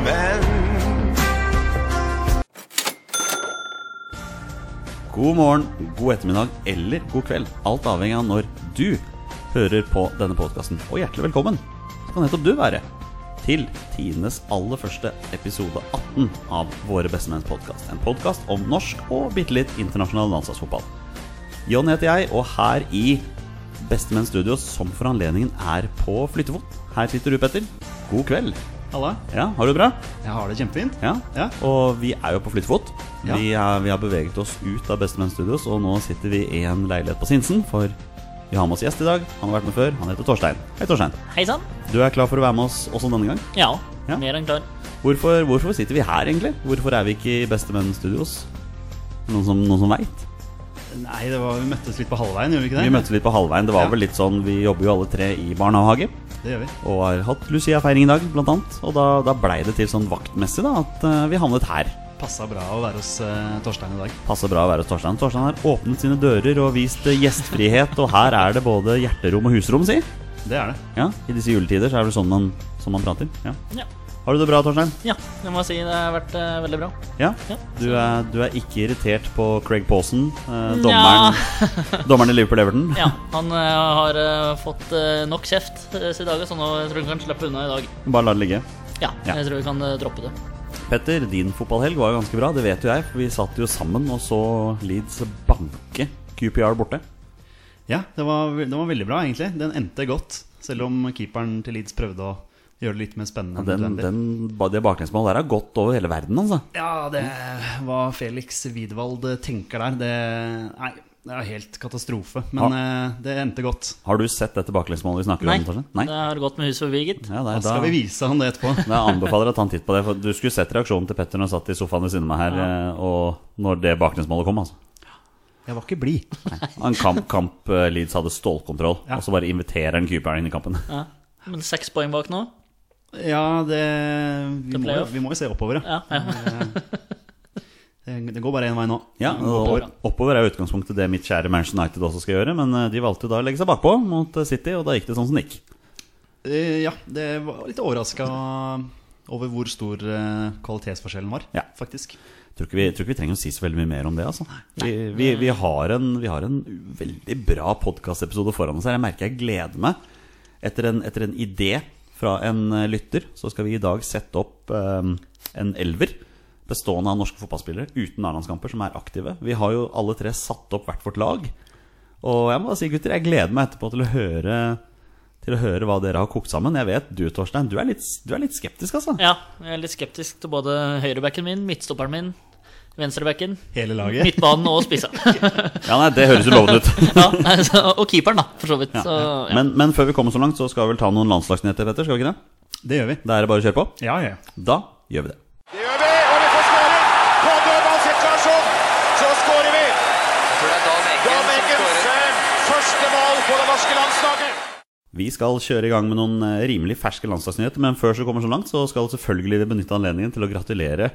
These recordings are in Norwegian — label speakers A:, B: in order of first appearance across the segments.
A: menn.
B: God morgen, god ettermiddag eller god kveld. Alt avhengig av når du hører på denne podkasten. Og hjertelig velkommen skal nettopp du være til tidenes aller første episode 18 av Våre bestemenns podkast. En podkast om norsk og bitte litt internasjonal landslagsfotball. John heter jeg, og her i Bestemenn Studio, som for anledningen er på flyttefot. Her sitter du, Petter. God kveld.
C: Halla.
B: Ja, Har du det bra?
C: Jeg har det kjempefint.
B: Ja.
C: Ja.
B: Og vi er jo på flyttefot.
C: Ja.
B: Vi, er, vi har beveget oss ut av Bestemenn Studios, og nå sitter vi i en leilighet på Sinsen. For vi har med oss gjest i dag. Han har vært med før. Han heter Torstein. Hei, Torstein.
D: Hei sann.
B: Du er klar for å være med oss også denne gang.
D: Ja,
B: Ja.
D: mer enn klar.
B: Hvorfor, hvorfor sitter vi her, egentlig? Hvorfor er vi ikke i Bestemenn Studios? Noen som, noen som veit?
C: Nei, det var, vi møttes litt på halvveien, gjorde vi ikke det?
B: Vi møttes litt på halvveien. Det var
C: Ja.
B: vel litt sånn Vi jobber jo alle tre i barnehage.
C: Det gjør vi.
B: Og har hatt Lucia-feiring i dag, blant annet. Og da, da blei det til sånn vaktmessig, da, at eh, vi havnet her.
C: Passa bra å være hos eh, Torstein i dag.
B: Passer bra å være hos Torstein. Torstein har åpnet sine dører og vist eh, gjestfrihet, og her er det både hjerterom og husrom, si.
C: Det er det.
B: Ja, I disse juletider så er det sånn man, sånn man prater. Ja.
D: Ja.
B: Har du det bra, Torstein?
D: ja, jeg må si det har vært eh, veldig bra.
B: Ja?
D: Ja.
B: Du er, du er ikke irritert på Craig Pawson, eh, dommeren, dommeren i Liverpool Everton?
D: Ja, Han eh, har eh, fått eh, nok kjeft eh, siden i dag, så nå tror jeg han kan slippe unna i dag.
B: Bare la det ligge.
D: Ja,
B: Ja.
D: jeg tror vi kan eh, droppe det.
B: Petter, din fotballhelg var jo ganske bra, det vet jo jeg. For vi satt jo sammen og så Leeds banke QPR borte.
C: Ja, det var, ve- det var veldig bra, egentlig. Den endte godt. Selv om keeperen til Leeds prøvde å gjøre det litt mer spennende.
B: Ja,
C: enn
B: den,
C: nødvendig.
B: den, ba- det baklengsmålet der har gått over hele verden, altså.
C: Ja, det hva Felix Widwald eh, tenker der, det Nei, det er helt katastrofe. Men eh, det endte godt.
B: Har du sett dette baklengsmålet vi snakker om? Torstein?
D: det har gått med huset forbi, gitt.
B: Ja,
C: Da
B: det er,
C: skal vi vise han det etterpå.
B: Men Jeg anbefaler å ta en titt på det. For Du skulle sett reaksjonen til Petter når han satt i sofaen ved siden av meg her, eh, og når det baklengsmålet kom. altså
C: Jeg var ikke blid.
B: En kamp, kamp eh, Leeds hadde stålkontroll,
C: Ja.
B: og så bare inviterer han keeperen inn i kampen.
D: Ja. Men seks poeng bak nå?
C: Ja, det Vi,
D: Det
C: må, jo-
D: playoff.
C: vi må jo se oppover, ja.
D: Ja, ja.
C: Det, det går bare én vei nå.
B: Ja,
C: Vi må oppover.
B: og Oppover er jo utgangspunktet det mitt kjære Manchester United også skal gjøre, men eh, de valgte jo da å legge seg bakpå mot eh, City, og da gikk det sånn som det gikk.
C: Eh, Ja, det var litt overraska over hvor stor eh, kvalitetsforskjellen var,
B: Ja.
C: faktisk.
B: Tror ikke, vi, tror ikke vi trenger å si så veldig mye mer om det. altså Vi, vi, vi, har, en, vi har en veldig bra podkastepisode foran oss her. Jeg merker jeg gleder meg. Etter en, etter en idé fra en eh, lytter så skal vi i dag sette opp eh, en elver bestående av norske fotballspillere uten A-landskamper som er aktive. Vi har jo alle tre satt opp hvert vårt lag. Og jeg må bare si, gutter, jeg gleder meg etterpå til å høre til å høre hva dere har kokt sammen. Jeg vet du, Torstein, du er litt, du er litt skeptisk, altså.
D: ja, jeg er litt skeptisk til både høyrebacken min, midtstopperen min, venstrebacken,
C: Hele laget.
D: midtbanen og spissa.
B: Ja, nei, Det høres jo lovende ut.
D: ja, altså, og keeperen, da, for så vidt. Så, ja.
B: Men, men før vi kommer så langt, så skal vi vel ta noen landslagsnyheter, Petter? Skal vi ikke det?
C: Det gjør vi.
B: Da er det bare å kjøre på.
C: Ja, ja.
B: Da gjør vi det.
A: Det gjør vi, og vi får skåring! På dødballsituasjon så skårer vi!
E: tror det er Dan Eggen
A: Dan
E: som
A: Eggens eh,
E: skårer.
A: første mål på det norske landslaget.
B: Vi skal kjøre i gang med noen eh, rimelig ferske landslagsnyheter, men før vi kommer så langt, så skal selvfølgelig vi benytte anledningen til å gratulere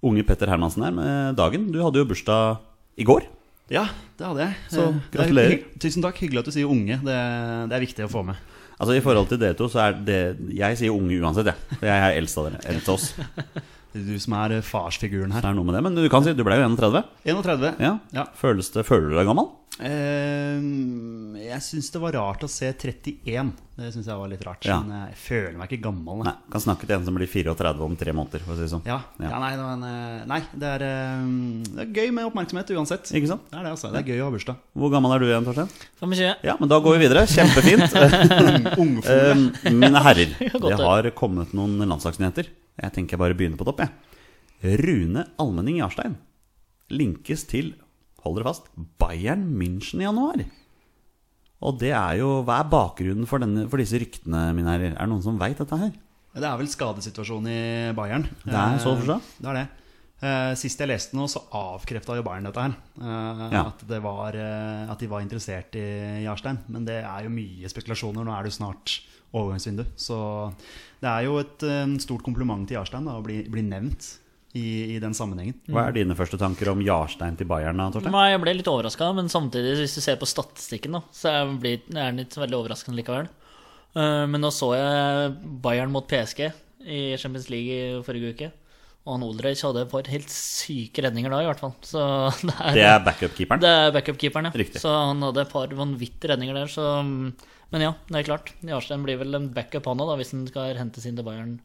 B: unge Petter Hermansen her med dagen. Du hadde jo bursdag i går.
C: ja, det hadde jeg.
B: Så,
C: Eh, det er
B: gratulerer.
C: hy- Tusen takk. Hyggelig at du sier unge. Det, det er viktig å få med.
B: Altså I forhold til dere to, så er det Jeg sier unge uansett, jeg. For jeg er eldst av dere. Eldst av oss. Det
C: Det er Du som er eh, farsfiguren her.
B: er noe med det. Men du kan si du ble jo 31.
C: 31.
B: Ja.
C: Ja.
B: Føles det, føler du deg gammel?
C: Eh, jeg syns det var rart å se 31. Det syns jeg var litt rart.
B: Ja.
C: Men jeg føler meg ikke gammel.
B: Nei. Kan snakke til en som blir 34 om tre måneder, for å si det sånn.
C: Ja, ja. nei, det var en, eh, nei det, er, eh, det er gøy med oppmerksomhet uansett.
B: Ikke sant?
C: Det er det, altså. Det er gøy å ha bursdag.
B: Hvor gammel er du igjen, Torstein?
D: 25.
B: Ja, men da går vi videre. Kjempefint.
C: Ungfugl.
B: Um, mine herrer, det
D: Godt, det.
B: har kommet noen landslagsnyheter. Jeg tenker jeg bare begynner på topp, jeg. Rune Almenning Jarstein linkes til, hold dere fast, Bayern München i januar. Og det er jo Hva er bakgrunnen for, denne, for disse ryktene, mine herrer? Er det noen som veit dette her?
C: Det er vel skadesituasjonen i Bayern.
B: Det er så for seg.
C: Eh, Det er det. Eh, Sist jeg leste noe, så avkrefta jo Bayern dette her. Eh,
B: Ja.
C: At, det var, eh, at de var interessert i Jarstein. Men det er jo mye spekulasjoner. Nå er det jo snart overgangsvindu. Så det er jo et eh, stort kompliment til Jarstein da, å bli, bli nevnt i, i den sammenhengen.
B: Hva
D: Mm.
B: er dine første tanker om Jarstein til Bayern, da, Torstein?
D: Nei, jeg ble litt overraska, men samtidig, hvis du ser på statistikken, da, så er jeg blir- er den ikke så veldig overraskende likevel. Eh, Men nå så jeg Bayern mot PSG i Champions League i forrige uke. Og han Olreich hadde et par helt syke redninger da, i hvert fall. Så det er,
B: Det er backup-keeperen.
D: det er backup-keeperen, ja.
B: Riktig.
D: Så han hadde et par vanvittige redninger der, så Men ja, det er klart. Jarstein blir vel en backup, han òg, hvis han skal hentes inn til Bayern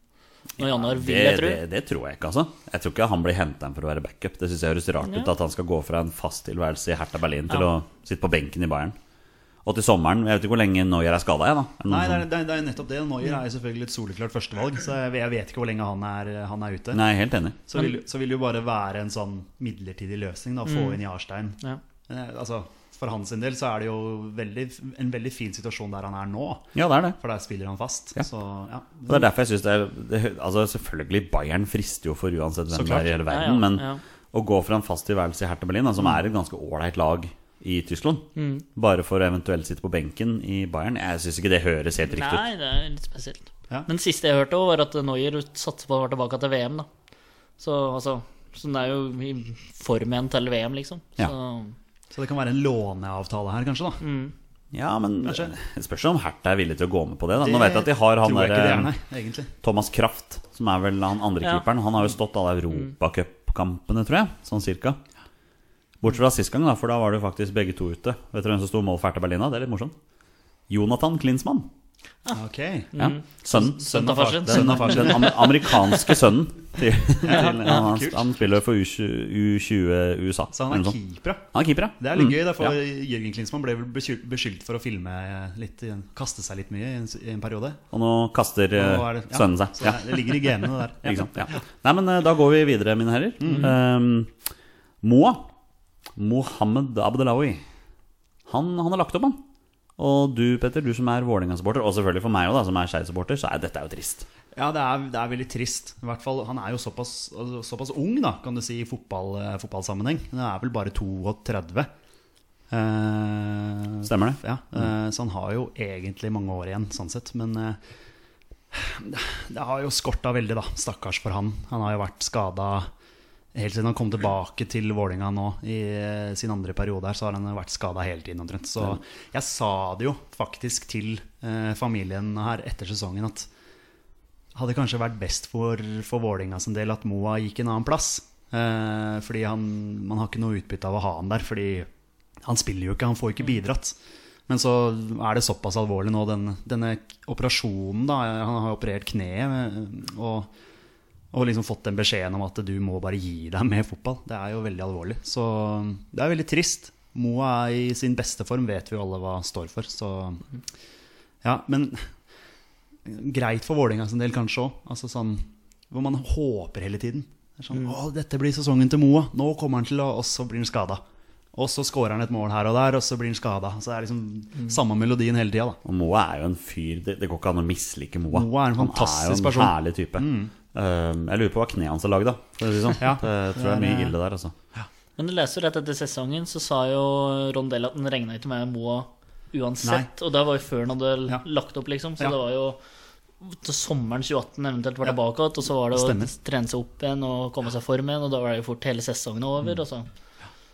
D: nå i januar, vil
B: Det,
D: jeg tro.
B: det, det tror jeg ikke, altså. Jeg tror ikke han blir henta inn for å være backup. Det syns jeg høres rart ut at han skal gå fra en fast tilværelse i Hertha Berlin til
D: Ja.
B: å sitte på benken i Bayern. Og til sommeren Jeg vet ikke hvor lenge Noyer er skada, jeg, da.
C: Nei, det er, det er- det er nettopp det. Neuer er jo selvfølgelig et soleklart førstevalg, så jeg, jeg vet ikke hvor lenge han er, han er ute.
B: Nei, jeg er helt enig.
C: Så vil, så vil det jo bare være en sånn midlertidig løsning, da, å få inn Jarstein.
D: Ja.
C: Eh, Altså, for hans sin del så er det jo veldig, en veldig fin situasjon der han er nå,
B: Ja, det er det.
C: for der spiller han fast. Så ja.
B: Og det er derfor jeg synes det er det, Altså Selvfølgelig, Bayern frister jo for uansett hvem det
C: klart.
B: er i hele
D: Ja,
B: verden.
D: ja,
B: men
D: ja. Mm.
B: å gå fra en fast tilværelse i Hertha Berlin, da, som er et ganske ålreit lag i Tyskland, bare for å eventuelt sitte på benken i Bayern, jeg syns ikke det høres helt riktig ut.
D: Nei, det er litt spesielt.
C: Ja.
D: Den siste jeg hørte, også var at Neuer satser på å være tilbake til VM. da Så altså Så den er jo i form igjen til VM, liksom.
B: Ja.
D: Så
C: Så det kan være en låneavtale her, kanskje, da.
B: Ja, men
C: Kanskje.
B: det spørs om Hertha er villig til å gå med på det. Da. Nå
C: Det
B: vet jeg at de har han
C: Tror jeg ikke det er,
B: der eh,
C: nei, egentlig.
B: Thomas Kraft, som er vel han andre
D: Ja.
B: keeperen. Han har jo stått alle europacupkampene, tror jeg. Sånn cirka. Bortsett fra sist gang, da, for da var det jo faktisk begge to ute. Vet du hvem som sto i mål for Hertha Berlin da? Det er litt morsomt. Jonathan Klinsmann.
C: Ok.
B: Ja. Sønnen.
D: Sønnen Ah. av far sin.
B: Den, den amer- amerikanske sønnen. Til, til, han, han,
C: kult.
B: han spiller for U20 U20 USA.
C: Så han
B: eller
C: er
B: noe sånt.
C: keeper, ja.
B: han er keeper, ja.
C: Det er litt
B: Mm,
C: gøy, derfor
B: ja.
C: Jørgen Klinsmann ble vel beskyld- beskyldt for å filme litt, i en- kaste seg litt mye i en, s- i en periode.
B: Og nå kaster
C: Og
B: eh,
C: nå er det- ja,
B: sønnen seg.
C: Så
B: Ja.
C: det- det ligger i genene der.
B: Ikke sant? Ja. Nei, men eh, da går vi videre, mine herrer.
C: Mm.
B: Eh, Moa, Mohammed Abdelawi, han, han har lagt opp, han. Og du, Petter, du som er Vålerenga-supporter, og selvfølgelig for meg òg, som er Skeid-supporter, så er dette jo trist.
C: Ja, det er, det er veldig trist. I hvert fall, Han er jo såpass, altså, såpass ung, da, kan du si, i fotball, eh, fotballsammenheng. Han er vel bare 32. Eh,
B: Stemmer det?
C: Ja, eh, Så han har jo egentlig mange år igjen, sånn sett. Men eh, det har jo skorta veldig, da. Stakkars for han. Han har jo vært skada helt siden han kom tilbake til Vålinga nå i eh, sin andre periode her, så har han jo vært skada hele tiden omtrent. Så jeg sa det jo faktisk til eh, familien her etter sesongen at hadde kanskje vært best for, for Vålinga sin del at Moa gikk en annen plass. Eh, fordi han, man har ikke noe utbytte av å ha han der, fordi han spiller jo ikke, han får ikke bidratt. Men så er det såpass alvorlig nå, den, denne operasjonen, da. Han har jo operert kneet. eh, Og, og liksom fått den beskjeden om at du må bare gi deg med fotball. Det er jo veldig alvorlig. Så det er veldig trist. Moa er i sin beste form, vet vi jo alle hva han står for. Så ja, men greit for Vålerenga sin del kanskje òg. Altså sånn, hvor man håper hele tiden. Det er sånn, Å, dette blir sesongen til Moa. Nå kommer han til å Og så blir han skada. Og så scorer han et mål her og der, og så blir han skada. Så det er liksom samme melodien hele tida, da.
B: Og Moa er jo en fyr Det, det går ikke an å mislike Moa.
C: Moa er en
B: han er jo
C: fantastisk
B: en
C: person. Mm.
B: herlig type. Um, jeg lurer på hva kneet hans har lagd, da. For å si det sånn.
C: Ja.
B: det tror jeg er mye
C: Det er-
B: ille der, altså.
D: Men jeg leser rett etter sesongen, så sa jo Rondell at den regna ikke med Moa uansett. Og det var jo før han hadde l-
C: Ja.
D: lagt opp, liksom. Så
C: Ja.
D: det var jo til sommeren 2018 eventuelt var
C: Ja.
D: tilbake igjen. Og så var det å
C: Stemmer.
D: trene seg opp igjen og komme seg i form igjen. Og da var det jo fort hele sesongen
C: Mm.
D: over. Og så.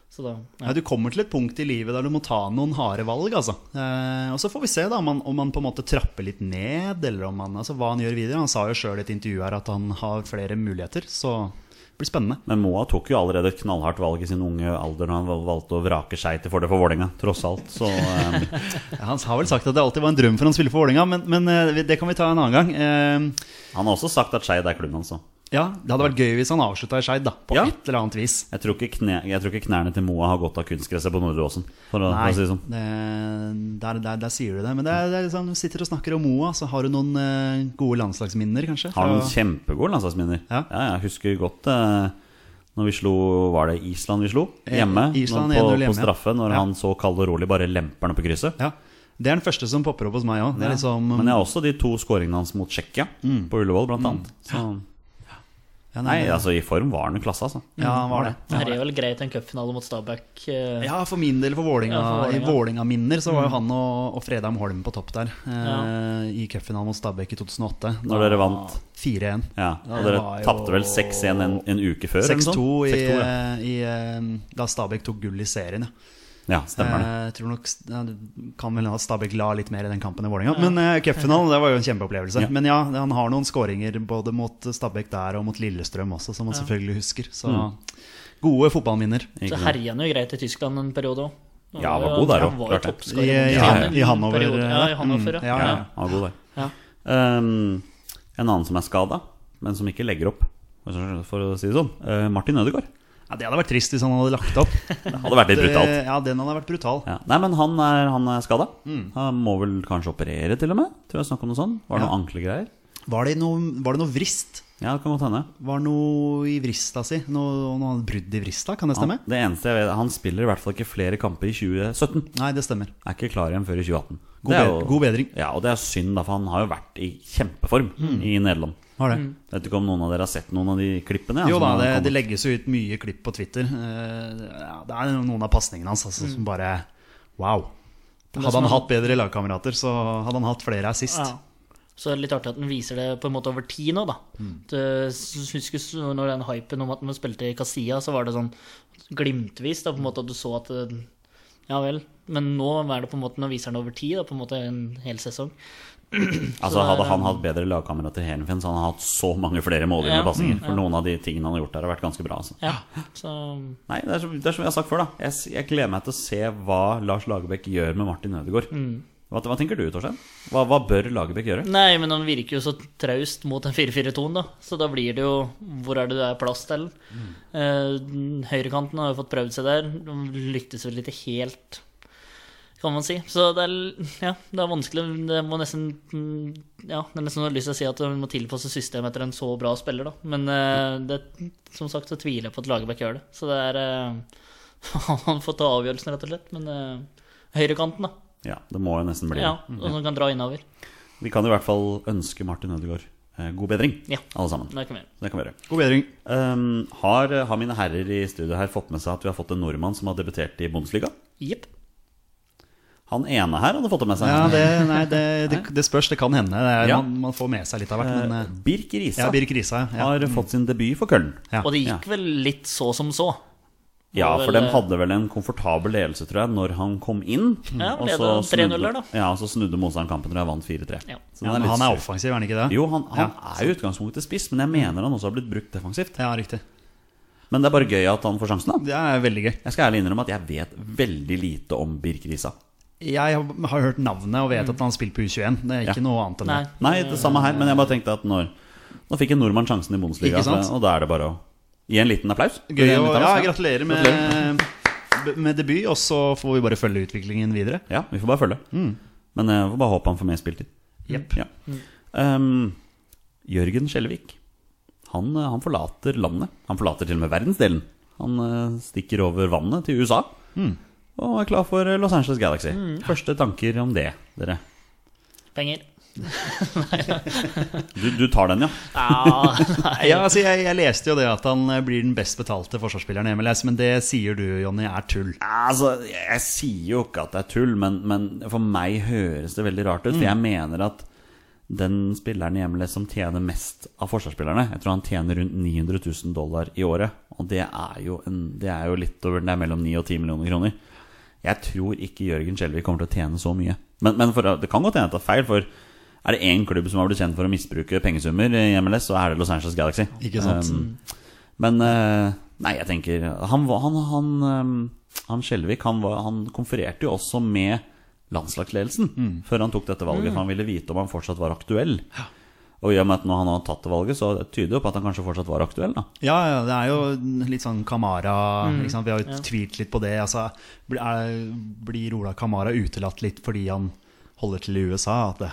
D: så da ja.
C: Ja, du kommer til et punkt i livet der du må ta noen harde valg, altså. Eh, og så får vi se da om han, om han på en måte trapper litt ned, eller om han, altså, hva han gjør videre. Han sa jo sjøl i et intervju her at han har flere muligheter, så det blir spennende.
B: Men Moa tok jo allerede et knallhardt valg i sin unge alder når han val- valgte å vrake seg til fordel for Vålerenga, tross alt. Så um,
C: Ja, han har vel sagt at det alltid var en drøm for han å spille for Vålerenga, men, men eh, det kan vi ta en annen gang. Eh,
B: han har også sagt at Skeid er klubben hans. så.
C: ja, det hadde vært gøy hvis han avslutta i Skeid, da. På
B: Ja.
C: et eller annet vis.
B: Jeg tror, ikke kne, jeg tror ikke knærne til Moa har godt av kunstgresset på Nordre Åsen, for, å- for
C: Nei,
B: å si det sånn.
C: det, der, der, der sier du det. Men det er, det er liksom, du sitter og snakker om Moa, så har du noen eh, gode landslagsminner, kanskje?
B: Har noen
C: fra-
B: kjempegode landslagsminner.
C: Ja.
B: Ja, jeg husker godt eh, når vi slo Var det Island vi slo?
C: Eh,
B: Hjemme.
C: Island
B: når- på,
C: 1-0 hjemme,
B: på straffe, når
C: ja.
B: han så kald og rolig bare lemper den på krysset.
C: Ja. Det er den første som popper opp hos meg òg.
B: Ja.
C: Liksom, Mm.
B: Men jeg har også de to skåringene hans mot Tsjekkia, på Ullevål blant annet. Så,
C: ja,
B: nei,
C: nei, ja.
B: altså i form var han i klasse, altså.
C: han var det.
D: Det her er vel greit en cupfinale mot Stabæk. eh,
C: Ja, for min del, for Vålinga,
D: Ja, for
C: i
D: Vålinga. Mm.
C: Vålinga-minner, så var jo han og, og Fredheim Holm på topp der. Eh,
D: Ja.
C: I cupfinalen mot Stabæk i 2008.
B: Når dere vant.
C: 4-1.
B: Ja,
C: det
B: og dere
C: var jo-
B: tapte vel 6-1 en, en uke før? eller noe
C: 6-2
B: sånt?
C: i,
B: 6-2, ja.
C: i, eh, da Stabæk tok gull i serien, ja.
B: Ja, stemmer det.
C: Eh, Jeg tror nok ja, det kan vel hende at Stabæk la litt mer i den kampen i Vålerenga. Men eh, cupfinalen det var jo en kjempeopplevelse.
B: Ja.
C: Men ja, det- han har noen skåringer både mot Stabæk der og mot Lillestrøm også, som han selvfølgelig husker. Så
B: Mm.
C: gode fotballminner.
B: Ikke
D: Så
B: sant?
D: herja han jo greit i Tyskland en periode òg.
B: Ja, han var god der også,
D: Han var jo
B: klart
C: I,
B: det.
D: toppskårer
C: i,
D: i
C: Han-
D: en
C: i Hannover.
D: periode. Ja, i
C: eh,
D: Hannover,
C: mm,
D: ja.
C: ja,
B: Ja, han var god der.
D: Ja.
B: Ehm, en annen som er skada, men som ikke legger opp, for å si det sånn. eh, Martin Ødegaard.
C: Ja, det hadde vært trist hvis han hadde lagt opp.
B: Det hadde vært litt brutalt.
C: Eh, Ja, den hadde vært brutal.
B: Ja. Nei, men han er, han er skada. Han må vel kanskje operere, til og med. Tror jeg snakket om noe sånt. Var
C: Mm.
B: det
C: Ja.
B: noen ankelegreier?
C: Var det noe, var det noe vrist?
B: Ja, det kan godt hende.
C: Var det noe i vrista si? Noe, noe brudd i vrista, kan det
B: Han,
C: stemme?
B: det eneste jeg vet, han spiller i hvert fall ikke flere kamper i 2017.
C: Nei, det stemmer.
B: Er ikke klar igjen før i 2018.
C: God
B: Det er
C: bed- god bedring. Mm.
B: Ja, og det er synd, da, for han har jo vært i kjempeform i Nederland.
C: Har det.
B: Vet ikke om noen av dere har sett noen av de klippene? ja,
C: Jo
B: som
C: da,
B: har
C: det,
B: kommet?
C: det legges jo ut mye klipp på Twitter. Eh, ja, Det er noen av pasningene hans altså, som bare Wow.
D: Mm. er
C: Hadde
D: som
C: han
D: han-
C: hatt bedre lagkamerater, så hadde han hatt flere assist.
D: Ja. Så det er litt artig at den viser det på en måte over tid nå, da.
C: Mm.
D: Det- s- husker s- når den hypen om at man spilte i Casilla, så var det sånn glimtvis, da, på en måte at du så at eh, Ja vel. Men nå er det på en måte, nå viser den over tid, da, på en måte en hel sesong.
B: Altså
D: Så
B: Hadde
D: der,
B: han hatt bedre lagkamerater i Heerenveen, så hadde han hatt så mange flere målgivende
D: Ja.
B: pasninger. For noen av de tingene han har gjort der, har vært ganske bra. Altså.
D: Ja, så
B: Nei, det er, som, det er som jeg har sagt før, da. Jeg, s- jeg gleder meg til å se hva Lars Lagerbäck gjør med Martin Ødegaard.
D: Mm.
B: Hva, hva tenker du, Torstein? Hva, hva bør Lagerbäck gjøre?
D: Nei, men han virker jo så traust mot den 4-4-2-en, da. Så da blir det jo Hvor er det det er plass til? Eh, høyrekanten har jo fått prøvd seg der. De lyktes vel ikke helt, kan man si. Så det er, ja, det er vanskelig. Det må nesten mm, Ja, det er nesten noe lyst til å si at man må tilpasse systemet etter en så bra spiller, da. Men eh, det, som sagt så tviler jeg på at Lagerbäck gjør det. Så det er eh, Han får ta avgjørelsen, rett og slett. Men eh, høyrekanten, da.
B: Ja, Det må jo nesten bli
D: Ja, og som kan dra innover.
B: Vi kan i hvert fall ønske Martin Ødegaard eh, god bedring,
D: Ja.
B: alle sammen.
D: Det kan vi gjøre.
B: Det kan vi gjøre.
C: God bedring.
B: Um, har, har mine herrer i studio her fått med seg at vi har fått en nordmann som har debutert i Bundesliga?
D: Jepp.
B: Han ene her hadde fått det med seg.
C: Ja, det, nei, det, det, det spørs. Det kan hende. Det er,
B: Ja.
C: man, man får med seg litt av hvert. Men eh,
B: Birk Risa
C: ja, Birk Risa. Ja.
B: har fått sin debut for Köln.
C: Ja.
D: Og det gikk vel litt så som så.
B: Ja,
D: Var
B: for
D: vel- eh,
B: de hadde vel en komfortabel ledelse, tror jeg, når han kom inn.
D: Ja,
B: Og
D: leda
B: så
D: 3-0
B: snudde-
D: der, da.
B: Ja, og så snudde motstanderen kampen, og jeg vant 4-3.
D: Ja.
B: Så den
C: Ja, men
B: litt
C: han er
B: sur.
C: offensiv, er han ikke det?
B: Jo, han, han
C: Ja.
B: er jo i utgangspunktet spiss, men jeg mener han også har blitt brukt defensivt.
C: Ja, riktig.
B: Men det er bare gøy at han får sjansen, da.
C: Det er veldig gøy.
B: Jeg skal ærlig innrømme at jeg vet veldig lite om Birk Risa.
C: Jeg har- har hørt navnet og vet
D: Mm.
C: at han har spilt på U21. Det er ikke
B: Ja.
C: noe annet enn
D: Nei.
C: det.
B: Nei, det samme her, men jeg bare tenkte at når Nå fikk en nordmann sjansen i Bundesliga,
C: Ikke sant?
B: og da er det bare å gi en liten applaus.
C: Gøy å,
B: Gi en liten
C: ja,
B: applaus,
C: gratulerer med, med debut, og så får vi bare følge utviklingen videre.
B: Ja, vi får bare følge. Men jeg får bare håpe han får mer spiltid.
C: Jepp.
B: Ja. Um, Jørgen Skjelvik. Han, eh, han forlater landet. Han forlater til og med verdensdelen. Han eh, stikker over vannet til USA og er klar for eh, Los Angeles Galaxy. Første tanker om det, dere?
D: Penger.
B: Du, du tar den, ja?
D: Ja,
C: Ja, altså jeg, jeg leste jo det at han eh, blir den best betalte forsvarsspilleren i MLS, men det sier du, Jonny, er tull.
B: Altså, Jeg sier jo ikke at det er tull, men, men for meg høres det veldig rart ut. For jeg
C: Mm.
B: mener at den spilleren i MLS som tjener mest av forsvarsspillerne Jeg tror han tjener rundt 900 000 dollar i året. Og det er jo, en, det er jo litt over Det er mellom 9 og 10 millioner kroner. Jeg tror ikke Jørgen Skjelvik kommer til å tjene så mye. Men, men for, det kan godt hende jeg tar feil, for er det én klubb som har blitt kjent for å misbruke pengesummer i MLS, så er det Los Angeles Galaxy.
C: Ikke sant?
B: Um, men eh, nei, jeg tenker Han, var- han, han, ehm, han Skjelvik han, var- han konfererte jo også med landslagsledelsen før han tok dette valget, for han ville vite om han fortsatt var aktuell. Og i og med at nå han har tatt det valget, så tyder det jo på at han kanskje fortsatt var aktuell. da
C: Ja, ja, det er jo litt sånn Kamara ikke sant? Vi har jo tvilt litt på det. Altså, bli- er, blir Ola Kamara utelatt litt fordi han holder til i USA? At det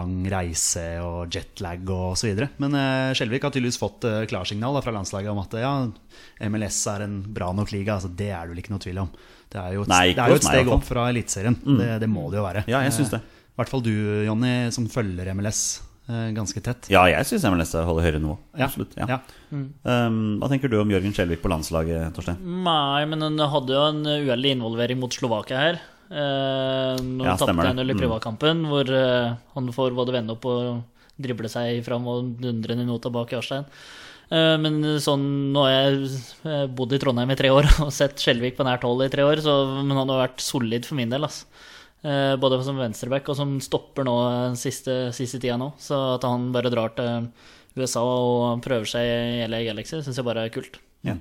C: lang reise og jetlag og så videre. Men eh, Skjelvik har tydeligvis fått eh, klarsignal da, fra landslaget om at eh, ja, MLS er en bra nok liga. Altså, det er det vel ikke noe tvil om. Det er jo et,
B: Nei, ikke
C: det er jo
B: hos
C: et
B: meg, i
C: steg
B: hvert Mm.
C: opp fra Eliteserien. Det, det må det jo være. Eh,
B: Ja, jeg synes det.
C: I hvert fall du, Jonny, som følger MLS eh, ganske tett.
B: Ja, jeg syns MLS holder høyere nivå.
C: Ja.
B: Absolutt.
C: Ja.
B: Ehm, hva tenker du om Jørgen Skjelvik på landslaget,
D: Mm.
B: Torstein?
D: Nei, men han hadde jo en uheldig involvering mot Slovakia her. Eh, når
B: Ja,
D: han
B: stemmer
D: tapte
B: det.
D: 1-0 i
B: Mm.
D: privatkampen, hvor eh, han får både vende opp og drible seg fram og dundre ned nota bak Jarstein. Eh, Men sånn, nå har jeg eh, bodd i Trondheim i tre år og sett Skjelvik på nært hold i tre år, så, men han har vært solid for min del. ass. Eh, Både som venstreback og som stopper nå eh, siste, siste tida nå. Så at han bare drar til USA og prøver seg i hele Galaxy, syns jeg bare er kult.
B: Ja.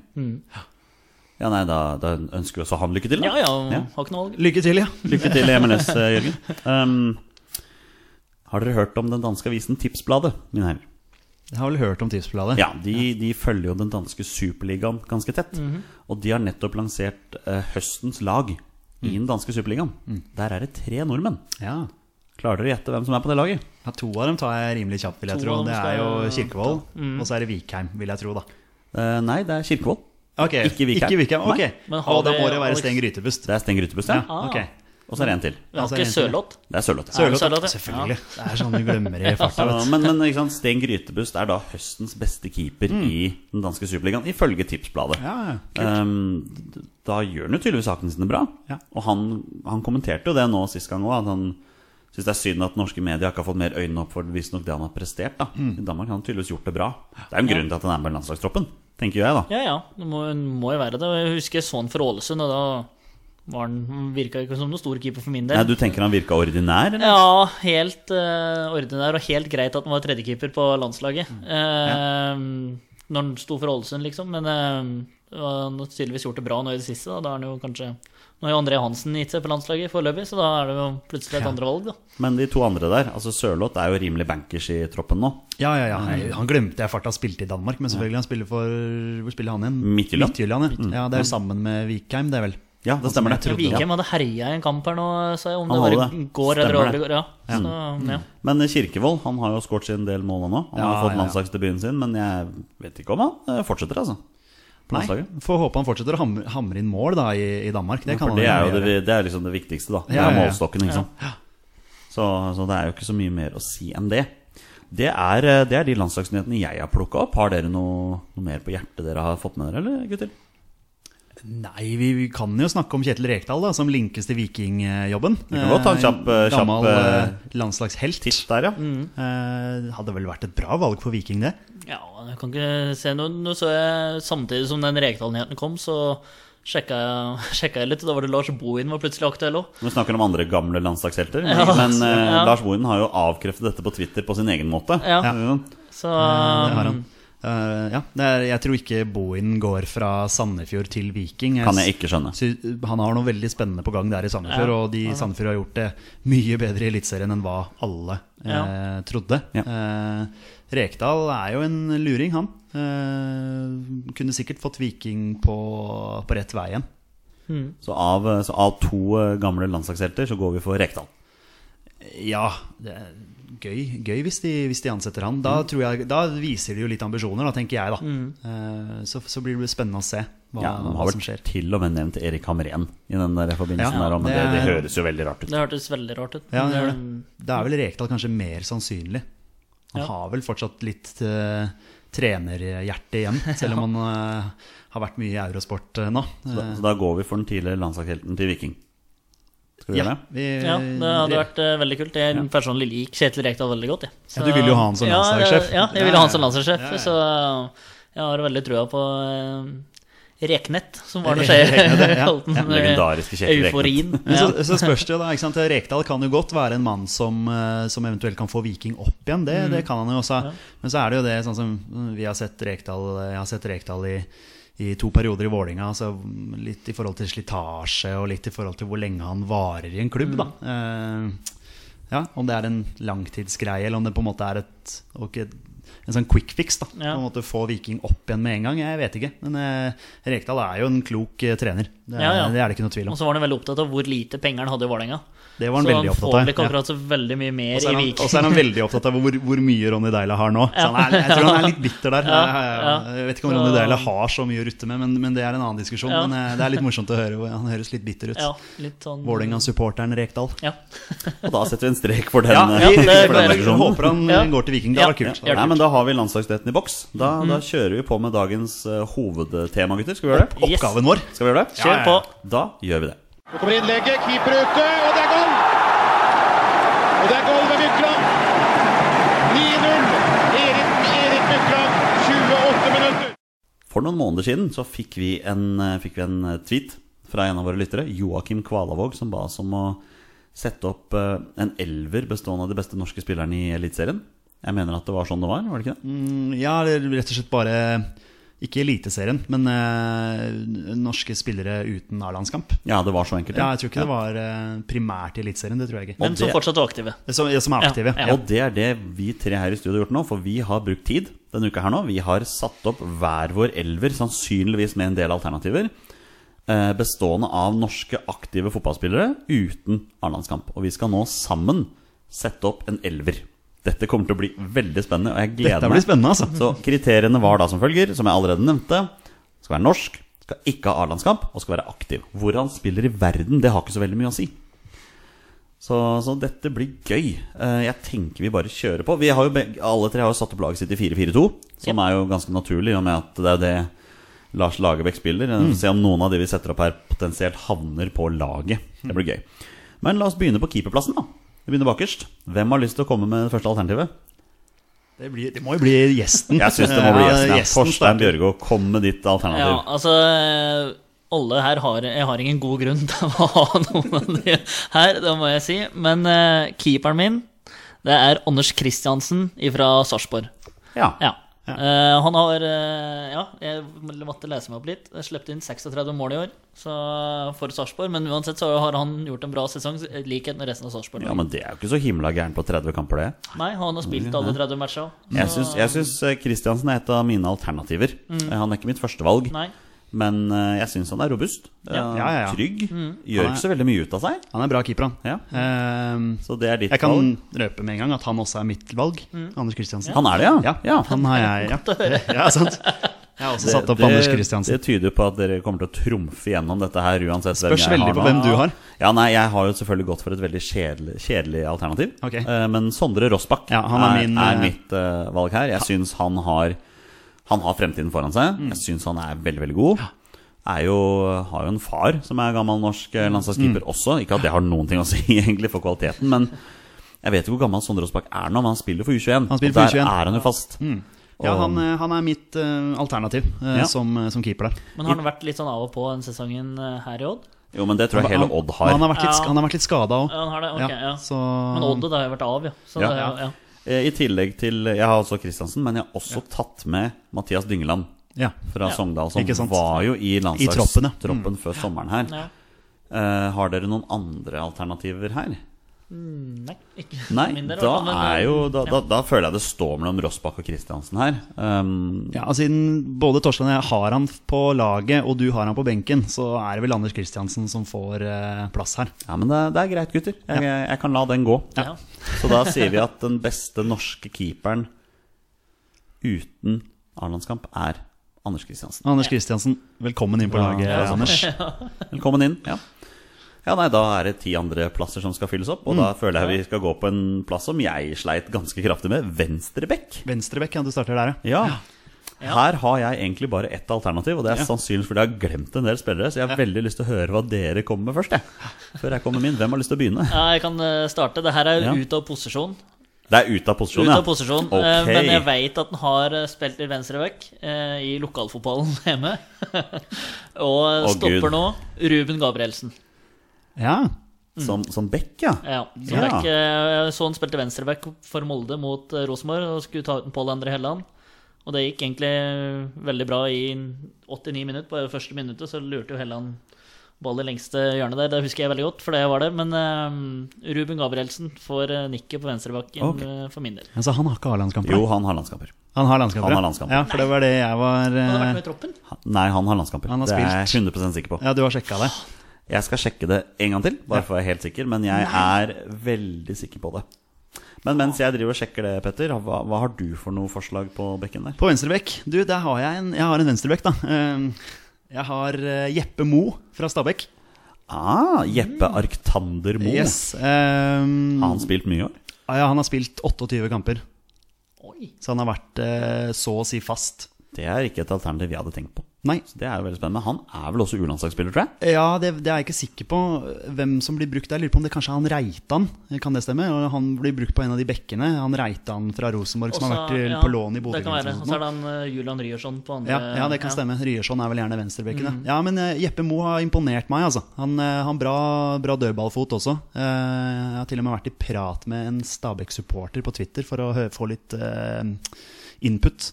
B: ja, nei, da, da ønsker vi også han lykke til, da.
D: Ja ja, har ikke noe valg.
C: Lykke til, ja.
B: Lykke til i MLS, eh, Jørgen. Um, har dere hørt om den danske avisen Tipsbladet, mine herrer?
C: Jeg har vel hørt om tipsbladet.
B: Ja, de, de følger jo den danske superligaen ganske tett.
C: Mhm.
B: Og de har nettopp lansert eh, høstens lag i
C: Mm.
B: den danske superligaen. Der er det tre nordmenn.
C: Ja.
B: Klarer dere å gjette hvem som er på det laget?
C: Ja, To av dem tar jeg rimelig kjapt, vil jeg
D: To
C: tro.
D: av dem
C: Det er
D: skal
C: jo
D: jeg
C: Kirkevold, og så er det Vikheim, vil jeg tro, da.
B: Eh, nei, det er Kirkevold.
C: Ok,
B: Ikke Vikheim.
C: Ikke Vikheim.
B: Nei.
C: ok.
D: Men har
C: Og da
D: vi
C: må det være
D: Alex-
C: Sten Grytebust.
B: Det er Sten Grytebust,
C: Ja,
B: ja.
C: Ah. ok.
B: Og så er det en til.
D: Vi har
C: Altså, en
D: ikke
C: til.
D: Sørloth.
B: Det er Sørloth.
D: Ja.
C: Sørloth,
D: Sørloth,
C: da.
D: ja.
C: selvfølgelig. Det er sånn du glemmer i farta.
B: Så, men men ikke sant? Sten Grytebust er da høstens beste keeper i den danske superligaen, ifølge Tipsbladet.
C: Mm. Ja, ja.
B: Ehm, d- da gjør han jo tydeligvis sakene sine bra.
C: Ja.
B: Og han, han kommenterte jo det nå sist gang òg, at han syns det er synd at norske medier ikke har fått mer øynene opp for visstnok det han har prestert. Da.
C: Mm.
B: I Danmark har han tydeligvis gjort det bra. Det er jo en grunn til at han er med i landslagstroppen, tenker jeg, da.
D: Ja, ja. Det må, må jo være det. Jeg husker jeg så han for Ålesund, og da var han, virka ikke som noen stor keeper for min del.
B: Nei, du tenker han virka ordinær, eller?
D: Ja, helt eh, ordinær og helt greit at han var tredjekeeper på landslaget.
B: Mm.
D: Eh, Når han sto for Ålesund, liksom. Men eh, han har tydeligvis gjort det bra nå i det siste. Da, da er han jo kanskje Nå har jo André Hansen gitt seg på landslaget foreløpig, så da er det jo plutselig et andre valg, da.
B: Men de to andre der, altså Sørloth er jo rimelig bankers i troppen nå.
C: Ja, ja, ja. Nei, Han glemte jeg fart han spilte i Danmark, men selvfølgelig han spiller for Hvor spiller han igjen?
B: Midtjylland. Mm.
C: Midtjylland ja. ja, det er jo sammen med Vikheim, det er vel.
B: Ja, det stemmer det.
D: Vikheim hadde herja i en kamp her nå, sa jeg, om
B: Han
D: det bare
B: hadde det.
D: går eller
B: Stemmer det. Mm.
D: overgår. Ja. Så, ja.
B: Men eh, Kirkevold han har jo skåret sin del mål nå. Han har
C: Ja,
B: fått
C: ja, ja.
B: landslagsdebuten sin, men jeg vet ikke om han eh, fortsetter, altså. På
C: Nei,
B: landslaget.
C: Får håpe han fortsetter å hamre, hamre inn mål da i, i Danmark. Det kan
B: For det er
C: han
B: jo
C: gjøre.
B: det, det er liksom det viktigste, da. Det
C: Ja,
B: er
C: ja, ja.
B: målstokken, ikke sant. Så, så det er jo ikke så mye mer å si enn det. Det er, eh, det er de landslagsnyhetene jeg har plukka opp. Har dere noe, noe mer på hjertet dere har fått med dere, eller gutter?
C: Nei, vi, vi kan jo snakke om Kjetil Rekdal, da, som linkes til vikingjobben. Vi
B: kan godt ta en kjapp, eh, kjapp,
C: Gammel
B: eh,
C: eh, landslagshelt.
B: Titt der, ja.
C: Eh, hadde vel vært et bra valg for Viking, det.
D: Ja, jeg kan ikke se noe. Nå så jeg, samtidig som den Rekdal-nyheten kom, så sjekka jeg, sjekka jeg litt, og da var det Lars Bohin var plutselig aktuell òg.
B: Vi snakker om andre gamle landslagshelter, men,
D: Ja.
B: men eh,
D: Ja.
B: Lars Bohin har jo avkreftet dette på Twitter på sin egen måte.
D: Ja.
B: Ja.
D: Så
C: Det
B: Mm.
C: har han. Eh, ja, det er, jeg tror ikke Bohin går fra Sandefjord til Viking.
B: Kan jeg ikke skjønne.
C: Sy- Han har noe veldig spennende på gang der i Sandefjord,
D: Ja.
C: og de i Sandefjord har gjort det mye bedre i Eliteserien enn hva alle eh,
D: Ja.
C: trodde.
B: Ja.
C: Eh, Rekdal er jo en luring, han. Eh, kunne sikkert fått Viking på, på rett vei igjen.
B: Så av, eh, så av to eh, gamle landslagshelter så går vi for Rekdal.
C: Ja, det er gøy, gøy hvis, de, hvis de ansetter han. Da, tror jeg, da viser de jo litt ambisjoner, da, tenker jeg. da Eh, så, så blir det spennende å se hva,
B: Ja, de har
C: hva som
B: vel
C: skjer.
B: til og med nevnt Erik Hamren i den der forbindelsen
C: Ja,
B: der, men det,
C: det
B: det
C: er-
B: høres jo veldig rart ut.
D: det hørtes veldig rart ut.
C: Ja, det gjør
D: Men,
C: det. Da er vel Rekdal kanskje mer sannsynlig. Han
D: Mm. Ja.
C: har vel fortsatt litt eh, trenerhjerte igjen, selv om han eh, har vært mye i eurosport eh, nå.
B: Så da, så da går vi for den tidligere landslagshelten til Viking. Skal vi
C: Ja,
B: gjøre det?
C: vi,
D: Ja, det hadde vært eh, veldig kult. Jeg personlig liker Kjetil Rekdal veldig godt. jeg. Så-
C: Ja, du vil jo ha han som
D: Ja,
C: landslagssjef.
D: Ja, jeg vil ha han som
C: Ja, ja.
D: landslagssjef,
C: Ja, ja.
D: så jeg har veldig trua på eh, Reknett, som Arne Skei kalte den.
B: Legendariske Kjetil Reknett.
D: Euforien.
C: Men
D: Ja.
C: så, så spørs det jo da, ikke sant? Rekdal kan jo godt være en mann som, eh, som eventuelt kan få Viking opp igjen. Det,
D: Mm.
C: det kan han jo også. Men så er det jo det sånn som mm, vi har sett Rekdal, jeg har sett Rekdal i, i to perioder i Vålinga. Altså litt i forhold til slitasje og litt i forhold til hvor lenge han varer i en klubb. da.
D: Mm.
C: Eh, ja, Om det er en langtidsgreie, eller om det på en måte er et, og ikke en sånn quick fix. da.
D: Ja.
C: På en måte Få Viking opp igjen med en gang. Jeg vet ikke. Men eh, Rekdal er jo en klok eh, trener. Det er,
D: Ja, ja.
C: det er det ikke noe tvil om.
D: Og så var han veldig opptatt av hvor lite penger han hadde i Vålerenga.
C: Det var han veldig
D: Så han får vel
C: opptatt
D: ikke
C: av. ja.
D: akkurat så veldig mye
C: Og
D: mer
C: så er
D: i
C: han- og så
D: Viking.
C: er han veldig opptatt av hvor, hvor mye Ronny Deila har nå. Så han er, jeg tror han er litt bitter der.
D: Ja,
C: Jeg- Jeg jeg vet ikke om
D: ja.
C: Ronny
D: Så-
C: Deila har så mye å rutte med, men, men det er en annen diskusjon.
D: Ja.
C: Men eh, det er litt morsomt å høre. hvor Han høres litt bitter ut.
D: Ja, litt sånn
C: Vålerenga-supporteren Rekdal.
D: Ja.
B: Og da setter vi en strek for den.
D: ja,
B: eh,
D: det
B: for den
D: går jeg.
C: jeg
B: diskusjonen.
C: håper han eh,
D: Ja.
C: går til Viking. Det
D: Ja.
C: var kult.
D: Ja.
B: Nei, men Da har vi landslagsdretten i boks. Da,
C: Mm.
B: da kjører vi på med dagens eh, hovedtema, gutter. Skal vi gjøre det?
D: Yes.
C: Oppgaven vår.
B: Skal vi gjøre det?
D: Kjør på.
B: Da gjør vi det.
A: Nå kommer innlegget, keeper ute, og det er goal! Og det er goal ved Mykland. 9-0. Erik, Erik Mykland, 28 minutter.
B: For noen måneder siden så fikk vi en, eh, fikk vi en eh, tweet fra en av våre lyttere, Joakim Kvalavåg, som ba oss om å sette opp eh, en elver bestående av de beste norske spillerne i Eliteserien. Jeg mener at det var sånn det var, var det ikke det?
C: Mm, Ja, det er rett og slett bare eh, Ikke Eliteserien, men eh, norske spillere uten A-landskamp.
B: Ja, det var så enkelt.
C: Ja, jeg tror ikke det var eh, primært i Eliteserien, det tror jeg ikke.
D: Men som
B: det-
D: fortsatt var aktive.
C: Som, ja, som er
D: Ja,
C: aktive.
D: ja.
B: Og det er det vi tre her i studio har gjort nå, for vi har brukt tid denne uka her nå. Vi har satt opp hver vår elver, sannsynligvis med en del alternativer, eh, bestående av norske aktive fotballspillere uten A-landskamp. Og vi skal nå sammen sette opp en elver. Dette kommer til å bli veldig spennende, og jeg gleder
C: Dette blir
B: meg.
C: spennende, altså.
B: Så kriteriene var da som følger, som jeg allerede nevnte. Skal være norsk, skal ikke ha A-landskamp og skal være aktiv. Hvor han spiller i verden, det har ikke så veldig mye å si. Så, så dette blir gøy. Eh, Jeg tenker vi bare kjører på. Vi har jo begge, alle tre har jo satt opp laget sitt i 4-4-2, som er jo ganske naturlig, i og med at det er det Lars Lagerbäck spiller. Eh, Se om noen av de vi setter opp her, potensielt havner på laget. Det blir gøy. Men la oss begynne på keeperplassen, da. Vi begynner bakerst. Hvem har lyst til å komme med det første alternativet?
C: Det, blir, det må jo bli gjesten.
B: Jeg syns det må bli gjesten.
C: Ja,
B: Ja, Torstein
C: starter.
B: Bjørgo, kom med ditt alternativ.
D: Ja, altså eh, alle her har Jeg har ingen god grunn til å ha noen av de her, det må jeg si. Men eh, keeperen min, det er Anders Kristiansen fra Sarpsborg.
B: Ja.
D: Ja. Eh, han har eh, Ja, jeg måtte lese meg opp litt. Jeg Slepte inn 36 mål i år så for Sarpsborg. Men uansett så har han gjort en bra sesong, i likhet med resten av Sarpsborg.
B: ja, men det er jo ikke så himla gærent på 30 kamper, det.
D: Nei, han har spilt alle 30 matcher.
B: Jeg syns, jeg syns eh, Kristiansen er et av mine alternativer. Eh, Han er ikke mitt førstevalg,
D: Nei.
B: men eh, jeg syns han er robust. eh,
D: Ja.
C: Ja, ja, ja.
B: Trygg. Gjør
C: Han er-
B: ikke så veldig mye ut av seg.
C: Han er bra keeper, han.
B: Ja.
C: Ehm,
B: Så det er ditt
C: jeg kan
B: valg.
C: røpe med en gang at han også er mitt valg.
D: Mm.
C: Anders Kristiansen.
B: Han er det, ja?
C: Ja, han har jeg. Ja, ja sant. Jeg har også satt opp Anders Kristiansen.
B: det tyder på at dere kommer til å trumfe gjennom dette her uansett hvem
C: Spørs
B: jeg
C: veldig
B: har
C: på
B: nå.
C: hvem du har.
B: Ja, nei, Jeg har jo selvfølgelig gått for et veldig kjedelig, kjedelig alternativ.
C: Ok.
B: Eh, Men Sondre Rossbakk
C: Ja, han er
B: er,
C: min,
B: er
C: eh,
B: mitt eh, valg her. Jeg syns han har Han har fremtiden foran seg.
C: Mm.
B: Jeg syns han er veldig, veldig god. Er jo, har jo en far som er gammel norsk eh, landslagskeeper
C: Mm.
B: også. Ikke at det har noen ting å si egentlig for kvaliteten, men jeg vet ikke hvor gammel Sondre Rossbakk er nå, men han spiller for U21.
C: Han spiller
B: og
C: for
B: der
C: U21.
B: er han jo fast.
C: Ja, han, eh, han er mitt eh, alternativ eh,
B: Ja.
C: som, som keeper der.
D: Men har han vært litt sånn av og på den sesongen eh, her i Odd?
B: Jo, men det tror jeg hele Odd har.
C: Han har vært litt,
D: Ja.
C: han har vært litt skada òg.
D: Ja, han har det, ok, ja.
C: så
D: Men Odd da har jo vært av, ja. Så
B: Ja.
D: det, er jo- ja.
B: Eh, I tillegg til Jeg har også Kristiansen, men jeg har også tatt med Mathias Dyngeland
C: ja.
B: fra Sogndal, som
C: Ikke sant?
B: var jo i
C: troppen, ja. Mm.
B: landslagstroppen før sommeren her.
D: Ja.
B: Eh, har dere noen andre alternativer her?
D: Nei, ikke
B: Nei,
D: for min del, i
B: da,
D: hvert fall, men-
B: er jo, da, da, da føler jeg det står mellom Rossbakk og Kristiansen her. Um,
C: ja, Siden både Torstein og jeg har han på laget, og du har han på benken, så er det vel Anders Kristiansen som får eh, plass her.
B: ja, men det, er- det er greit, gutter. Jeg, jeg, jeg kan la den gå.
D: Ja.
B: Så da sier vi at den beste norske keeperen uten A-landskamp er Anders Kristiansen.
C: Anders Kristiansen, velkommen inn på
B: Ja.
C: laget,
B: Ja.
C: Anders.
B: Velkommen inn. Ja. ja, nei, da er det ti andre plasser som skal fylles opp. Og da føler jeg vi skal gå på en plass som jeg sleit ganske kraftig med. Venstrebekk.
C: Venstrebekk, ja, du starter der, ja.
B: Ja. Her har jeg egentlig bare ett alternativ, og det er sannsynligvis fordi jeg har glemt en del spillere. Så jeg har veldig lyst til å høre hva dere kommer med først, jeg. Før jeg kommer med min. Hvem har lyst til å begynne?
D: Ja, jeg kan eh, starte. Det her er jo
B: Ja.
D: ut av posisjon.
B: Det er ut av
D: Ut
B: posisjon, ja.
D: av posisjon.
B: Ok.
D: eh, Men jeg veit at han har eh, spilt i venstreback eh, i lokalfotballen hjemme. Og
B: Å,
D: stopper
B: Gud.
D: nå Ruben Gabrielsen.
C: Ja,
B: Som, som bekk, ja.
D: Ja, så,
B: Ja.
D: det er ikke, jeg så han spilte venstreback for Molde mot eh, Rosenborg og skulle ta ut Pål André Helland. Og det gikk egentlig veldig bra i 89 minutter. På det første minuttet så lurte jo Helland ball i lengste hjørnet der. Det husker jeg veldig godt, for det var det. Men eh, Ruben Gabrielsen får eh, nikket på venstrebakken
B: Ok.
D: eh, for min del.
C: altså Han har ikke A-landskamp?
B: Jo, han har landskamper.
C: Han har landskamper?
B: Han har
C: ja.
B: landskamper.
C: Ja, for det var det jeg var
D: Han har
C: eh,
D: vært med i troppen.
B: Han- Nei, han har landskamper.
C: Han har
B: det er jeg
C: spilt.
B: 100 sikker på.
C: eh, Ja, du har sjekka det?
B: Jeg skal sjekke det en gang til, bare for å være helt sikker. Men jeg er veldig sikker på det. Men mens jeg driver og sjekker det, Petter, hva, hva har du for noe forslag på bekken der?
C: På venstrebekk, du, der har jeg en, jeg har en venstrebekk, da. Eh, Jeg har eh, Jeppe Mo fra Stabekk.
B: Ah, Jeppe Arctander Moe.
C: Yes. ehm,
B: Har han spilt mye i år?
C: ah, ja, han har spilt 28 kamper,
D: Oi.
C: så han har vært eh, så å si fast.
B: Det er ikke et alternativ jeg hadde tenkt på.
C: Nei.
B: Så det er jo veldig spennende. Han er vel også U-landslagsspiller, tror jeg?
C: Ja, det, det er jeg ikke sikker på eh, hvem som blir brukt der. Jeg Lurer på om det kanskje er han Reitan, kan det stemme? Og han blir brukt på en av de bekkene. Han Reitan fra Rosenborg som har
D: Også-
C: vært til-
D: ja,
C: på lån i Bodø.
D: Det kan
C: eller
D: være.
C: noe
D: Og så
C: sånt nå.
D: er det han eh, Julian Ryerson på andre
C: Ja, ja, det kan stemme. Ryerson er vel gjerne venstrebekken.
D: Mm.
C: ja. Ja, men eh, Jeppe Moe har imponert meg, altså. Han har bra, bra dødballfot også. Eh, Jeg har til og med vært i prat med en Stabæk-supporter på Twitter for å hø- få litt eh, input.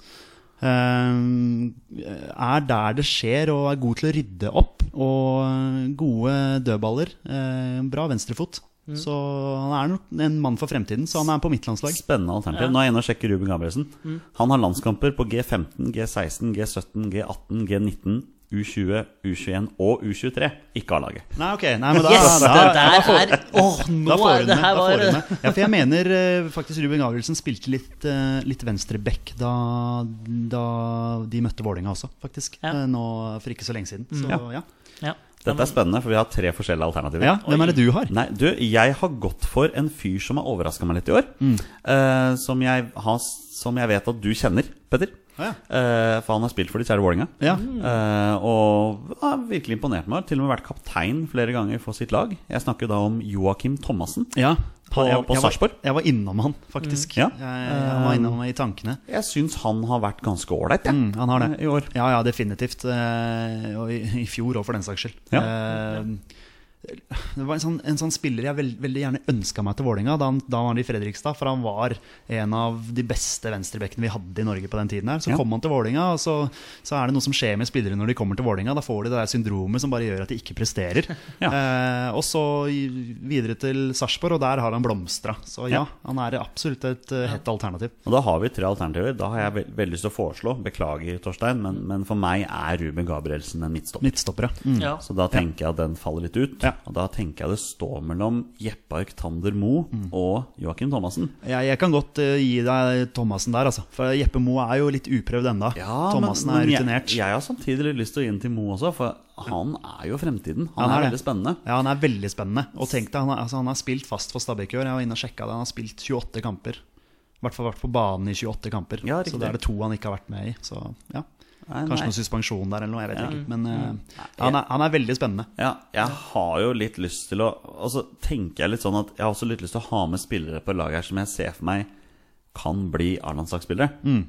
C: Eh, Er der det skjer, og er god til å rydde opp. Og eh, gode dødballer. eh, Bra venstrefot.
D: Mm.
C: Så han er nok en mann for fremtiden, så han er på mitt landslag.
B: Spennende alternativ. Nå er jeg inne og sjekker Ruben Gabrielsen. Han har landskamper på G15, G16, G17, G18, G19, U20, U21 og U23. Ikke A-laget.
C: Nei, ok. Nei, men da,
D: Yes!
C: da,
D: det der er Åh, nå
C: Da får
D: er
C: hun
D: det
C: det.
D: her
C: Da får
D: var
C: hun det. Ja, for jeg mener eh, faktisk Ruben Gabrielsen spilte litt, uh, litt venstre back da, da de møtte Vålerenga også, faktisk.
D: Ja. Mm.
C: Eh, nå for ikke så lenge siden. Så,
B: Ja.
C: ja.
D: ja.
B: Dette er spennende, for vi har tre forskjellige alternativer.
C: ja, hvem er det du har?
B: Nei, du, jeg har gått for en fyr som har overraska meg litt i år.
C: Mm.
B: eh, som, jeg har, som jeg vet at du kjenner, Petter.
C: Ja, Mm. ja.
B: Eh, for han har spilt for de kjære Vålerenga.
C: Ja.
D: Mm.
B: Eh, og har virkelig imponert meg. Har Til og med vært kaptein flere ganger for sitt lag. Jeg snakker da om Joakim Thomassen.
C: Ja.
B: På-
C: jeg,
B: på
C: jeg var-
B: Sarpsborg?
C: Jeg var innom han, faktisk.
B: Ja.
C: Jeg, jeg var innom han i tankene.
B: Jeg syns han har vært ganske ålreit, jeg.
C: Mm, han har det.
B: eh, I år.
C: Ja, ja, definitivt. Eh, Og i, i fjor òg, for den saks skyld. Eh, Det var en sånn, en sånn spiller jeg veld, veldig gjerne ønska meg til Vålinga da han, da han var i Fredrikstad. For han var en av de beste venstrebekkene vi hadde i Norge på den tiden. her Så
B: Ja.
C: kom han til Vålinga, og så, så er det noe som skjer med spillere når de kommer til Vålinga. Da får de det der syndromet som bare gjør at de ikke presterer.
B: Ja.
C: Eh, og så i- videre til Sarpsborg, og der har han blomstra. Så ja,
B: Ja.
C: han er absolutt et eh, hett alternativ.
B: Og da har vi tre alternativer. Da har jeg vel- veldig lyst til å foreslå, beklager Torstein, men, men for meg er Ruben Gabrielsen en midtstopper.
C: Midtstopper, ja. Mm.
D: Ja.
B: Så da tenker jeg at den faller litt ut.
C: Ja.
B: Og da tenker jeg det står mellom Jeppe Arctander Moe
C: Mm.
B: og Joakim Thomassen.
C: Jeg, jeg kan godt eh, gi deg Thomassen der, altså. For Jeppe Moe er jo litt uprøvd ennå. Thomassen er rutinert.
B: Jeg, jeg har samtidig litt lyst til å gi den til Moe også, for han er jo fremtiden. Han,
C: Han er
B: er,
C: det.
B: veldig spennende.
C: Ja, han er veldig spennende. Og tenk deg, han, har- altså, han har spilt fast for Stabæk i år. Jeg var inne og sjekka det. Han har spilt 28 kamper. I hvert fall vært på banen i 28 kamper.
B: Ja,
C: så
B: riktig.
C: det er det to han ikke har vært med i. Så ja.
B: Nei,
C: Kanskje
B: nei.
C: noe suspensjon der eller noe, jeg vet
B: Ja. Mm.
C: ikke. Men eh, han, er, han er veldig spennende.
B: Ja, jeg har jo litt lyst til å Og så tenker jeg litt sånn at jeg har også litt lyst til å ha med spillere på laget her som jeg ser for meg kan bli A-landslagsspillere.
C: Mm.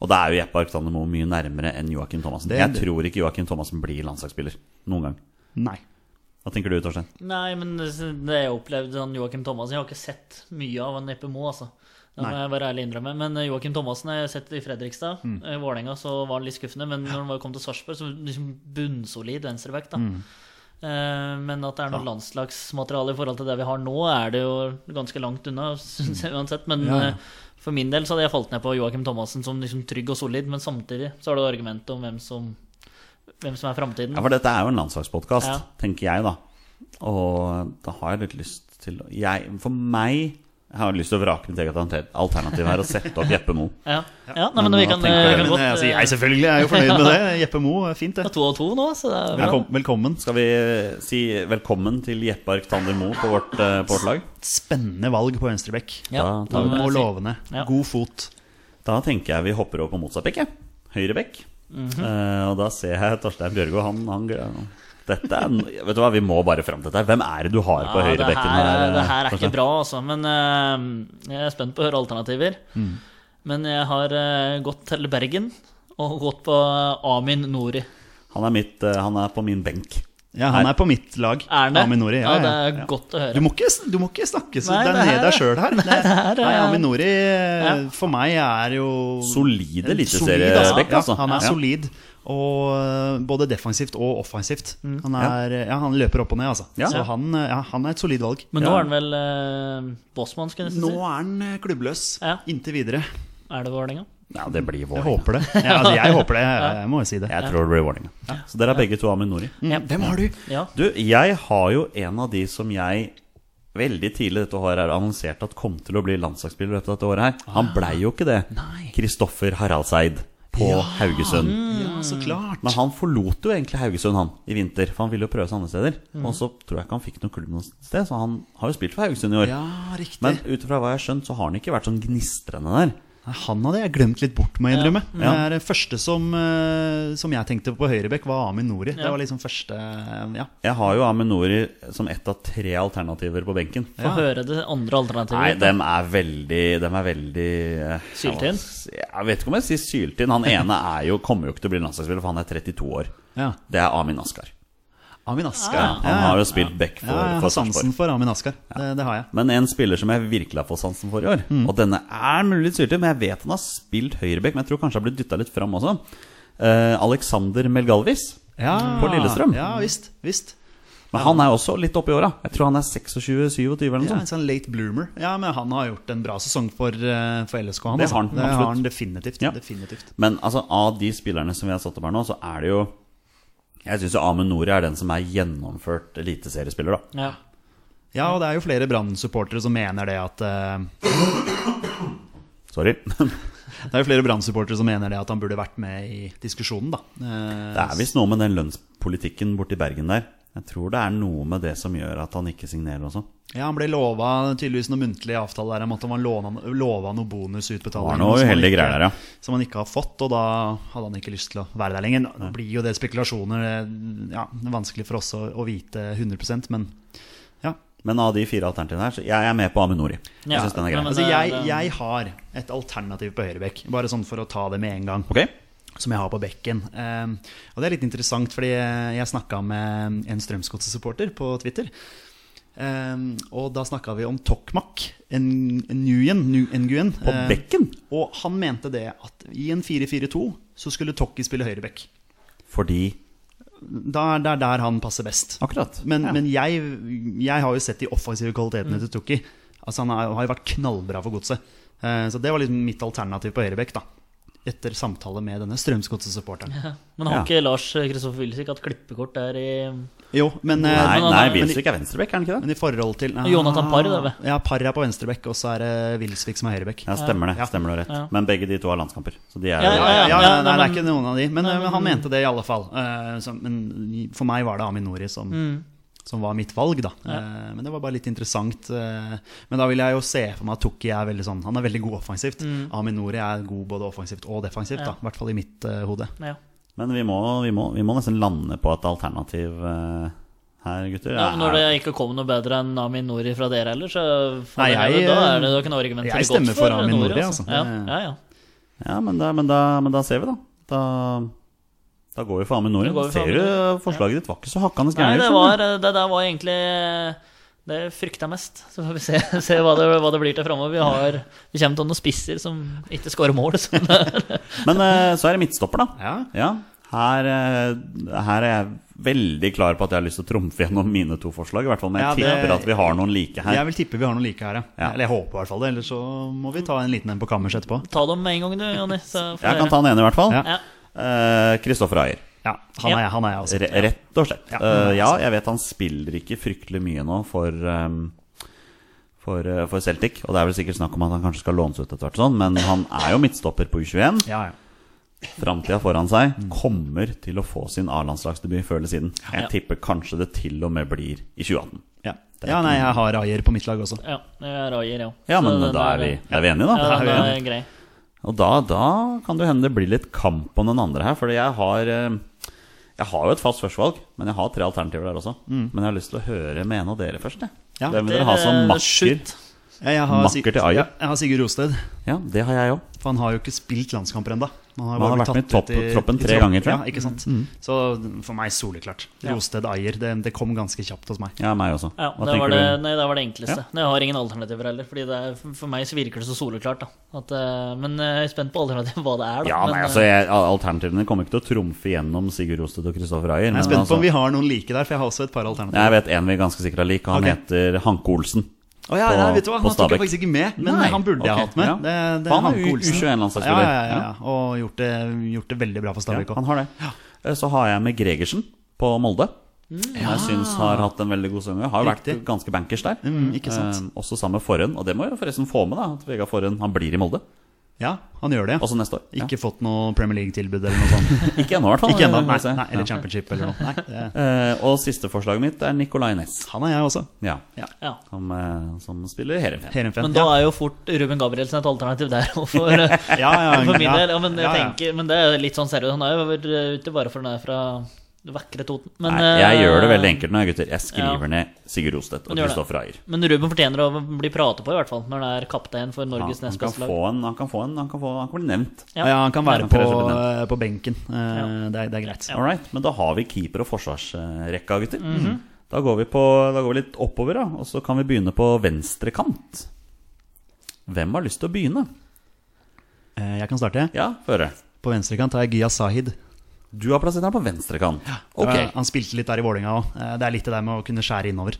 B: Og da er jo Jeppe Arctander Moe mye nærmere enn Joakim Thomassen.
C: Det-
B: Jeg tror ikke Joakim Thomassen blir landslagsspiller noen gang.
C: Nei.
B: Hva tenker du, Torstein?
D: Nei, men det det jeg opplevde han Joakim Thomassen Jeg har ikke sett mye av han Jeppe Moe, altså. Det må
C: Nei.
D: jeg være ærlig innrømme. Men eh, Joakim Thomassen har jeg sett i Fredrikstad. I Vålerenga så var han litt skuffende, men når han var- kom til Sarpsborg, så liksom bunnsolid venstreback, da. Eh, Men at det er noe landslagsmateriale i forhold til det vi har nå, er det jo ganske langt unna, syns jeg uansett. Men
C: Ja, ja.
D: eh, for min del så hadde jeg falt ned på Joakim Thomassen som liksom trygg og solid, men samtidig så har du argumentet om hvem som, hvem som er framtiden.
B: Ja, for dette er jo en landslagspodkast,
D: Ja.
B: tenker jeg, da. Og da har jeg litt lyst til å- jeg, For meg jeg har lyst til å vrake mitt eget alter- alternativ her og sette opp Jeppe Moe.
D: Ja, ja nei, men,
B: Men
D: vi
B: da
D: kan,
B: tenker jeg-
D: vi kan
C: Men,
D: godt
C: eh, altså,
D: eh,
C: jeg selvfølgelig er jo fornøyd med det. Jeppe Moe, er fint
D: Det er
C: det.
D: to av to nå, så det er bra.
C: Velkom, velkommen.
B: Skal vi eh, si velkommen til Jeppe Arctander Moe på vårt, eh, på vårt lag?
C: Spennende valg på venstrebekk.
B: Da tar vi
D: men-
C: Og lovende.
D: Ja.
C: God fot.
B: Da tenker jeg vi hopper over på motsatt bekk, jeg. Høyre bekk.
C: Mhm.
B: Eh, og da ser jeg Torstein Bjørgo, han, han Dette er Vet du hva, vi må bare fram til dette. her. Hvem er det du har på
D: Ja,
B: høyre
D: det
B: bekken?
D: her,
B: her, eh,
D: det her er
B: Torstein?
D: ikke bra, altså. Men eh, jeg er spent på å høre alternativer. Men jeg har eh, gått til Bergen og gått på eh, Amin Nori.
B: Han er, mitt, eh, han er på min benk.
C: Ja, han er på mitt lag.
D: Er han det?
C: Aminori, ja,
D: det
C: ja,
D: er
C: ja.
D: godt å
C: Du
D: høre.
C: må ikke, du må ikke snakke så
D: Nei,
C: det er
D: det
C: ned
D: her-
C: deg sjøl her. Det,
D: her er-
C: nei, Aminori
D: Ja.
C: for meg er jo
B: Solide
C: en solid,
B: eliteseriespekt, altså.
C: Ja, han
B: Ja.
C: er solid, og øh, både defensivt og offensivt.
D: Mm.
C: Han, er, ja, han løper opp og ned, altså.
B: Ja.
C: Så han, øh, ja, han er et solid valg.
D: Men nå
B: Ja.
D: er han vel uh, bossmann, skulle jeg
C: Nå
D: nesten si.
C: er han øh, klubbløs
D: Ja.
C: inntil videre.
D: Er det Vålerenga?
B: Ja, det blir
C: Jeg
B: Vålerenga.
C: håper det. Ja, altså, jeg håper det, jeg, jeg må jo si det.
B: Jeg tror det blir Vålerenga. Så dere er begge to Aminori.
C: Mm, Hvem har du?
D: Ja.
B: Du, jeg har jo en av de som jeg veldig tidlig dette året har annonsert at kom til å bli landslagsspiller dette, dette året her.
D: Ah.
B: Han blei jo ikke det. Kristoffer Haraldseid på Haugesund.
C: Ja, så klart.
B: Men han forlot jo egentlig Haugesund han i vinter, for han ville jo prøve seg andre steder.
D: Mm.
B: Og så tror jeg ikke han fikk noen klubb noe sted, så han har jo spilt for Haugesund i år.
C: Ja, riktig.
B: Men ut ifra hva jeg har skjønt, så har han ikke vært sånn gnistrende der.
C: Nei, Han hadde jeg glemt litt bort, må jeg
D: Ja. Mm.
C: innrømme.
B: Ja.
C: Det er det første som, eh, som jeg tenkte på på høyrebekk, var Amin Nori.
D: Ja.
C: Det var liksom første eh, Ja.
B: Jeg har jo Aminori som ett av tre alternativer på benken.
D: Få høre det andre alternativet.
B: Nei, dem er veldig, dem er veldig eh,
D: Syltynn?
B: Jeg, jeg vet ikke om jeg sier syltynn. Han ene er jo, kommer jo ikke til å bli landslagsspiller, for han er 32 år.
C: ja.
B: Det er Amin Askar.
C: Amin Askar.
B: Ja, han har jo spilt back
C: ja,
B: for,
C: jeg
B: for
C: har sansen
B: Sarpsborg.
C: for Amin Askar. Det, det har jeg.
B: Men en spiller som jeg virkelig har fått sansen for i år,
C: Mm.
B: og denne er mulig litt syltynn, men jeg vet han har spilt høyreback, men jeg tror kanskje han har blitt dytta litt fram også. Eh, Alexander Melgalvis.
C: Ja.
B: På Lillestrøm?
C: Ja visst. visst.
B: Men han er jo også litt oppi åra. Jeg tror han er 26-27 eller noe
C: Ja, en
B: sånt.
C: sånn late bloomer. Ja, men han har gjort en bra sesong for, eh, for LSK. Han,
B: Det
C: altså.
B: har han,
C: det har
B: absolutt.
C: han definitivt.
B: Ja.
C: definitivt.
B: Men altså, av de spillerne som vi har satt opp her nå, så er det jo Jeg syns Amund Nori er den som er gjennomført eliteseriespiller, da.
D: Ja.
C: Ja, og det er jo flere Brann-supportere som mener det at eh,
B: Sorry.
C: Det er jo flere Brann-supportere som mener det at han burde vært med i diskusjonen, da. Eh,
B: Det er visst noe med den lønnspolitikken borti Bergen der. Jeg tror det er noe med det som gjør at han ikke signerer også.
C: Ja, Han ble lova tydeligvis noen muntlige avtaler der om at han var låna- lova noe bonusutbetaling.
B: Var noe
C: som han
B: uheldige
C: ikke-
B: greier der, ja.
C: Som han ikke har fått, og da hadde han ikke lyst til å være der lenger. Nå blir jo det spekulasjoner. det- Ja, det er vanskelig for oss å, å vite 100 men ja.
B: Men av de fire alternativene her, så jeg er med på Aminori. Jeg
D: Ja,
B: synes den er
D: men-
B: grei.
C: Altså,
D: det-
C: jeg,
D: det-
C: jeg har et alternativ på høyrebekk, bare sånn for å ta det med en gang.
B: Ok?
C: som jeg har på bekken. Um, og det er litt interessant, fordi jeg snakka med en Strømsgodset-supporter på Twitter. Um, og da snakka vi om Tokmak, en Nguyen. Nu- Nguyen
B: På
C: Eh,
B: bekken?
C: Og han mente det at i en 4-4-2 så skulle Tokki spille høyrebekk.
B: Fordi
C: Da er det er der han passer best.
B: Akkurat.
C: Men,
B: ja. Mm.
C: men jeg, jeg har jo sett de offensive kvalitetene til Tukki. Altså, han er, har jo vært knallbra for godset. Eh, Så det var liksom mitt alternativ på høyrebekk, da. Etter samtale med denne Strømsgodset-supporteren.
D: Men har
B: Ja.
D: ikke Lars Kristoffer Wilsik hatt klippekort der i
C: Jo, men eh,
B: Nei,
D: men han
B: nei
D: er-
B: Wilsvik er venstrebekk, er han ikke det?
C: Men i forhold til nei,
D: Jonathan Parr, da, vel?
C: Ja, Parr er på venstrebekk, og så er det Wilsvik som er høyrebekk.
B: Ja, stemmer det.
C: Ja.
B: stemmer det rett
D: Ja.
B: Men begge de to har landskamper. Så de er
D: Ja,
B: jo
C: Ja, ja, ja,
D: ja,
C: nei, det
D: nei,
C: er ikke
D: men-
C: noen av de, men,
D: Nei,
C: men han mente det i alle fall. Eh, så, men for meg var det Aminori som, som var mitt valg, da. Eh, men det var bare litt interessant. eh, men da vil jeg jo se for meg at Tukki er veldig sånn Han er veldig god offensivt. Aminori er god både offensivt og defensivt,
D: Ja.
C: da. I hvert fall i mitt eh, hode.
D: ja.
B: Men vi må, vi, må, vi må nesten lande på et alternativ eh, her, gutter.
D: Ja, men Når det ikke kom noe bedre enn Amin Nori fra dere heller, så
C: Nei, jeg,
D: da er det da kan argumenter
C: jeg
D: godt
C: stemmer for Amin
D: Nori,
C: Nori, altså.
D: Ja, ja, ja.
B: Ja, men da, men, da, men da ser vi, da. Da, da går vi for Aminori.
D: Da går vi for
B: Ser du,
D: Aminori.
B: forslaget ditt var ikke så hakkende
D: Nei,
B: gærent. liksom,
D: det,
B: skjønner du.
D: var, det der var egentlig det jeg frykta mest. Så får vi se, se hva, det, hva det blir til framover. Vi, har- vi kommer til å ha noen spisser som ikke skårer mål. Så det,
B: Men eh, så er det midtstopper, da.
C: Ja.
B: Her, eh, her er jeg veldig klar på at jeg har lyst til å trumfe gjennom mine to forslag. I hvert fall, Men jeg
C: Ja, det-
B: tipper at vi har noen like her.
C: Jeg vil tippe vi har noe like her, ja.
B: Ja.
C: Eller jeg håper i hvert fall det. Ellers så må vi ta en liten en på kammers etterpå.
D: ta dem med en gang, du, Jonny. så får
B: Jeg
D: dere-
B: kan ta den ene, i hvert fall.
C: Ja.
D: Ja.
B: Eh, Kristoffer Ayer.
C: Ja, han
D: Ja.
C: er jeg, altså. han er jeg også.
B: Re rett og slett.
C: Ja.
B: Eh, ja, jeg vet han spiller ikke fryktelig mye nå for ehm, for, eh, for Celtic, og det er vel sikkert snakk om at han kanskje skal lånes ut etter hvert, og sånn, men han er jo midtstopper på U21.
C: Ja, ja.
B: Framtida foran seg. Kommer til å få sin A-landslagsdebut før eller siden. Jeg tipper kanskje det til og med blir i 2018.
C: Ja, ja nei, jeg har Ayer på mitt lag også.
D: Ja, det er Rajer, ja.
B: Ja,
D: Så
B: men
D: den
B: da er vi, er vi enige,
D: Ja,
B: da.
D: den er grei.
B: Og da, da kan det jo hende det blir litt kamp om den andre her, fordi jeg har eh, jeg har jo et fast førstevalg, men jeg har tre alternativer der også. Men jeg har lyst til å høre med en av dere først. Jeg.
C: Ja,
B: Hvem vil dere sånn ha som
D: Dere,
B: makker?
D: shoot.
C: Ja, Jeg har,
B: Makker til Ayer.
C: Ja, jeg har Sigurd Rosted,
B: Ja, det har jeg òg.
C: for han har jo ikke spilt landskamper ennå. Han
B: Men han
C: bare
B: har
C: blitt tatt
B: vært med i
C: ut
B: topp- troppen tre
C: tropp-
B: ganger, tror jeg. Mm.
C: Ja, ikke sant? Så for meg soleklart. Rosted, Ayer. Det, det kom ganske kjapt hos meg.
B: Ja, meg også.
D: Ja,
B: Hva
D: det
B: tenker
D: var det,
B: du?
D: nei, det var det enkleste. Jeg har ingen alternativer heller. Fordi det er, For meg så virker det så soleklart. da At, eh, Men jeg er spent på alternativet hva det er. da
B: Ja, nei,
D: men,
B: altså
D: eh,
B: jeg, Alternativene kommer ikke til å trumfe gjennom Sigurd Rosted og Kristoffer Ayer.
C: Jeg
B: men
C: er spent
B: altså-
C: på om vi har noen like der, for jeg har også et par alternativer.
B: Jeg vet en vi er ganske sikkert har lik, og han
C: Ok.
B: heter Hanke Olsen.
C: Å ja,
B: på-
C: nei, vet du hva?
B: på
C: Han tok jeg
B: Stabæk.
C: faktisk ikke med, men
B: Nei,
C: han burde jeg
B: ok,
C: hatt med.
B: ja.
C: Det, det
B: Han
C: er
B: er
C: Hanke
B: U-
C: Olsen.
B: U21-landslagsspiller.
C: Ja, ja, ja,
B: Ja.
C: ja. Og gjort det, gjort det veldig bra for
B: Ja,
C: Stabæk
B: han
C: òg.
B: har det. Eh, Så har jeg med Gregersen på Molde. Jeg syns har hatt en veldig god sesong. Har jo vært
C: Mm. Riktig.
B: ganske bankers der.
C: Mm, ikke sant?
B: Eh, også sammen med Forhen. Og det må jeg forresten få med, da. At Vegard Forhen han blir i Molde.
C: Ja, han gjør det.
B: Altså neste år.
C: Ikke fått noe Premier League-tilbud eller noe sånt.
B: ja. ikke ennå, i hvert fall.
C: Ikke ennå.
B: Vi
C: Nei,
B: får se.
C: nei, eller
B: Ja.
C: Championship eller noe. Nei, det,
B: Eh, og siste forslaget mitt er Nicolay Næss.
C: han er jeg også.
B: Ja.
C: Ja.
D: Ja.
B: Som, eh, som spiller Heerenveen.
C: Heerenfen.
D: Men da er jo fort Ruben Gabrielsen et alternativ der òg, for,
C: Ja, ja,
D: for min
C: ja.
D: del. Ja, men, jeg
C: Ja, ja.
D: Tenker, men det er jo litt sånn seriøst. Han er jo vært ute bare for den der fra vakre Toten. Men,
B: Nei, jeg
D: eh,
B: gjør det veldig enkelt nå, gutter. Jeg skriver
D: Ja.
B: ned Sigurd Rostedt og
D: Men gjør det.
B: Kristoffer Ayer.
D: Men Ruben fortjener å bli pratet på, i hvert fall, når han er kaptein for
B: Han,
D: Norges
B: han,
D: nest
B: kan
D: beste
B: få
D: lag.
B: en, han kan få en, han kan, få, han kan bli nevnt.
D: Ja.
C: Ja, han kan være
B: Ja.
C: på, på benken. Eh, Det, er, det er greit.
B: All right, men da har vi keeper- og forsvarsrekka, gutter.
D: Mhm.
B: da, går vi på, da går vi litt oppover, da. Og så kan vi begynne på venstre kant. Hvem har lyst til å begynne?
C: Eh, Jeg kan starte.
B: Ja, få høre.
C: På venstrekant har jeg Gya Sahid.
B: Du har plassert ham på venstre kant. Ok.
C: Eh, Han spilte litt der i Vålinga òg. Det er litt det der med å kunne skjære innover.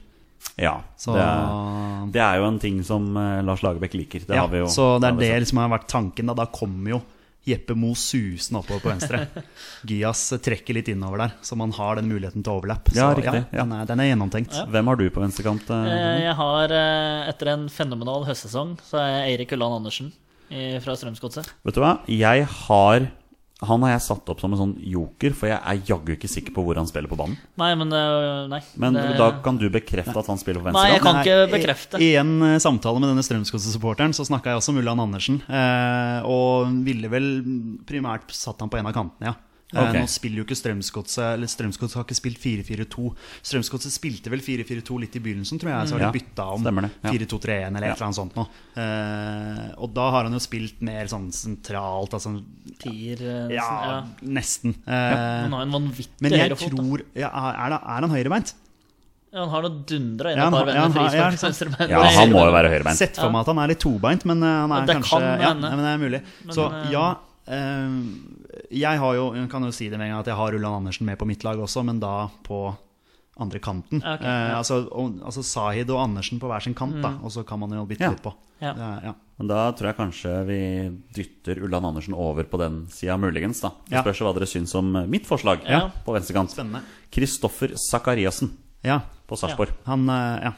B: Ja.
C: Så-
B: Det, er, det er jo en ting som eh, Lars Lagerbäck liker. Det
C: Ja,
B: har vi jo.
C: så det
B: har
C: er
B: vi
C: det
B: sett.
C: som har vært tanken. Da, da kommer jo Jeppe Mo susende oppover på venstre. Gyas trekker litt innover der, så man har den muligheten til overlapp.
B: Ja,
C: så,
B: riktig, ja.
C: Den, er, den er gjennomtenkt.
B: Hvem har du på venstre kant? eh,
C: Mhm.
D: Eh, Jeg har, eh, etter en fenomenal høstsesong, så er jeg Eirik Ulland Andersen i- fra Strømsgodset.
B: Vet du hva? Jeg har Han har jeg satt opp som en sånn joker, for jeg er jaggu ikke sikker på hvor han spiller på banen.
D: Nei, men eh, Nei.
B: Men
D: det-
B: da kan du bekrefte at han spiller på venstre
D: Nei, jeg
B: kant?
D: kan
C: Nei,
D: ikke
C: i-
D: bekrefte.
C: I en eh, samtale med denne Strømsgodset-supporteren så snakka jeg også med Ulland Andersen, eh, og ville vel primært satt han på en av kantene, ja. Eh,
B: Ok.
C: Nå spiller jo ikke Strømsgodset Eller Strømsgodset har ikke spilt 4-4-2. Strømsgodset spilte vel 4-4-2 litt i begynnelsen, tror jeg, så har de
B: Mm. Ja,
C: bytta om
B: stemmer det, ja.
C: 4-2-3-1 eller
B: Ja.
C: et eller annet sånt noe. Eh, og da har han jo spilt mer sånn sentralt, altså
D: Tier, eh,
C: Ja,
D: sånn, ja.
C: nesten. Eh,
D: Han har en vanvittig
C: Men jeg
D: høyrefot. da.
C: tror ja, Er, er han høyrebeint?
D: Ja, Han har noe dundra inn
C: Ja, han
D: et par
C: har- ja,
D: venner
C: han har- ja, ikke
D: frispark på
C: sant?
D: venstrebein.
B: Ja, han må jo være høyrebeint.
C: Sett for meg at han er litt tobeint, men eh, han er
D: Ja, det
C: kanskje
D: kan
C: ja,
D: hende.
C: ja, men det er mulig.
D: Men,
C: Så
D: eh,
C: ja eh, Jeg har jo, jeg kan jo si det med en gang at jeg har Ulland Andersen med på mitt lag også, men da på andre kanten.
D: Ja, ok,
C: Eh,
D: ja. Mm.
C: altså, og, altså Sahid og Andersen på hver sin kant, da, og så kan man jo bytte
B: Ja.
C: litt på.
D: Ja.
C: Det er- ja.
B: Men da tror jeg kanskje vi dytter Ulland Andersen over på den sida, muligens. da Det
C: Ja.
B: spørs hva dere syns om mitt forslag
D: Ja.
B: på venstre kant.
C: Spennende.
B: Kristoffer Sakariassen
C: Ja,
B: på Sarpsborg.
C: han eh, ja.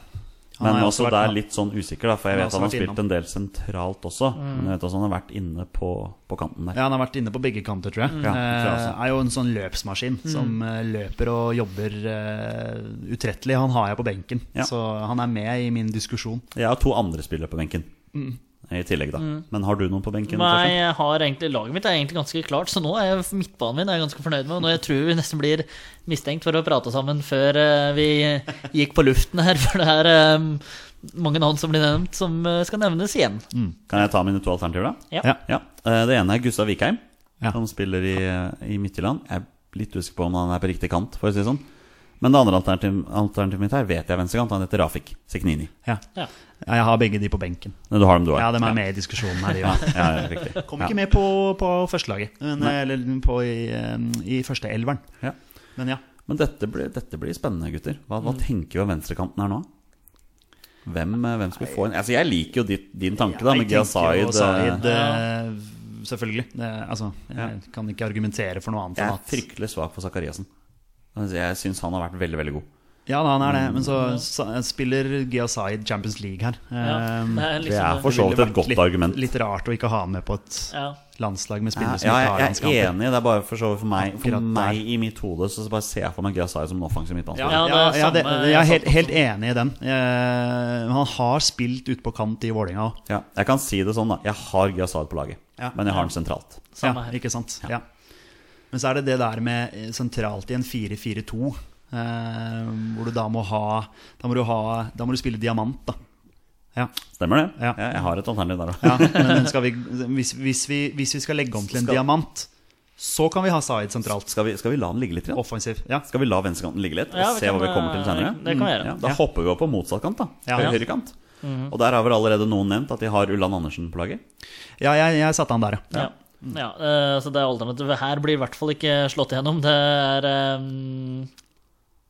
C: Han
B: Men
C: har jo vært-
B: også der litt sånn usikker, da for jeg
C: Han har
B: vet han
C: også
B: har
C: vært
B: spilt
C: innom. Mm.
B: en del sentralt også. Men jeg vet også han har vært inne på, på kanten der.
C: Ja, han har vært inne på begge kanter, tror jeg.
B: Mm. Ja, det tror jeg også. Mm.
C: Eh, er jo en sånn løpsmaskin som eh, løper og jobber eh, utrettelig. Han har jeg på benken,
B: Ja.
C: så han er med i min diskusjon.
B: Jeg har to andre spillere på benken
C: Mm.
B: i tillegg, da. Men har du noen på benken?
D: Nei,
B: Torstein?
D: jeg har egentlig, laget mitt er egentlig ganske klart, så nå er jeg, midtbanen min er jeg ganske fornøyd med. Og nå jeg tror vi nesten blir mistenkt for å prate sammen før eh, vi gikk på luften her. For det er eh, mange navn som blir nevnt, som eh, skal nevnes igjen.
B: Kan jeg ta mine to alternativer, da?
D: Ja.
C: Mm. Ja.
B: Ja, eh, Det ene er Gustav Vikheim,
C: Ja.
B: som spiller i, eh, i Midtjylland. Jeg er litt usikker på om han er på riktig kant, for å si det sånn. Men det andre alternativ- alternativet mitt her vet jeg venstrekant. Han heter Rafik Seknini.
C: Ja.
D: Ja.
C: Ja, Jeg har begge de på benken.
B: Men Du har dem, du òg?
C: Ja, de er med i diskusjonen her. Ja.
B: Ja, ja, riktig.
C: Kom
B: Ja.
C: ikke med på, på førstelaget, men, eller på i, eh, i første elveren.
B: Ja.
C: Men ja.
B: Men dette blir, dette blir spennende, gutter. Hva,
C: Mm.
B: hva tenker vi om venstrekanten her nå? Hvem, eh, hvem skulle få en Altså, Jeg liker jo ditt, din tanke, da, med
C: Jeg
B: Giyas
C: tenker jo
B: Zaid.
C: Zaid,
B: eh,
C: eh, Selvfølgelig. Det, altså, jeg kan ikke argumentere for noe annet
B: Jeg
C: enn
B: er
C: at
B: fryktelig svak for Sakariassen. Altså, Jeg syns han har vært veldig, veldig god.
C: Ja, da, han er det,
B: Mm.
C: men så sa- spiller Giyas Zaid Champions League her. Eh,
D: Ja, det er
B: Det er
D: liksom
B: for så vidt
C: ville vært
B: et godt
C: litt,
B: argument.
C: Litt rart å ikke ha med på et
D: ja.
C: landslag med
B: Ja,
C: spillere som ikke
B: ja,
C: har
B: jeg, jeg er
C: landskamper.
B: enig. Det er bare for så vidt for meg, for
C: Akkurat der.
B: meg i mitt hode så bare ser jeg for meg Grazai som en offensiv
C: Ja,
B: midtbanespiller.
D: Ja,
C: ja,
D: det
C: ja,
D: er
C: det,
D: samme-
C: jeg er helt, helt enig i den. Eh, han har spilt ute på kant i Vålinga òg.
B: Ja, jeg kan si det sånn, da. Jeg har Grazai på laget,
C: Ja.
B: men jeg har den sentralt.
D: Samme
C: ja,
D: her.
C: Ikke sant? Ja. Men så er det det der med eh, sentralt i en 4-4-2, eh, hvor du da må ha Da må du, ha, da må du spille diamant, da. Ja,
B: Stemmer det?
C: Ja.
B: Jeg, jeg har et alternativ der òg.
C: ja men skal vi, hvis, hvis, vi, hvis vi skal legge om til en
B: Skal-
C: diamant, så kan vi ha Zaid sentralt.
B: Skal, vi- skal vi la den ligge litt? Igjen?
C: Offensiv. Ja.
B: Skal vi la venstrekanten ligge litt, og
D: Ja, vi
B: se
D: kan,
B: hva vi kommer til
D: eh,
B: senere?
D: det kan vi gjøre. Mhm.
B: Ja, da
C: Ja.
B: hopper vi opp på motsatt kant, da.
C: Ja.
B: Høyre kant. Og der har vel allerede noen nevnt at de har Ulland Andersen på laget.
C: Ja, jeg, jeg satte han der, ja.
D: Ja. ja. eh, Så det alternativet her blir i hvert fall ikke slått igjennom. Det er eh,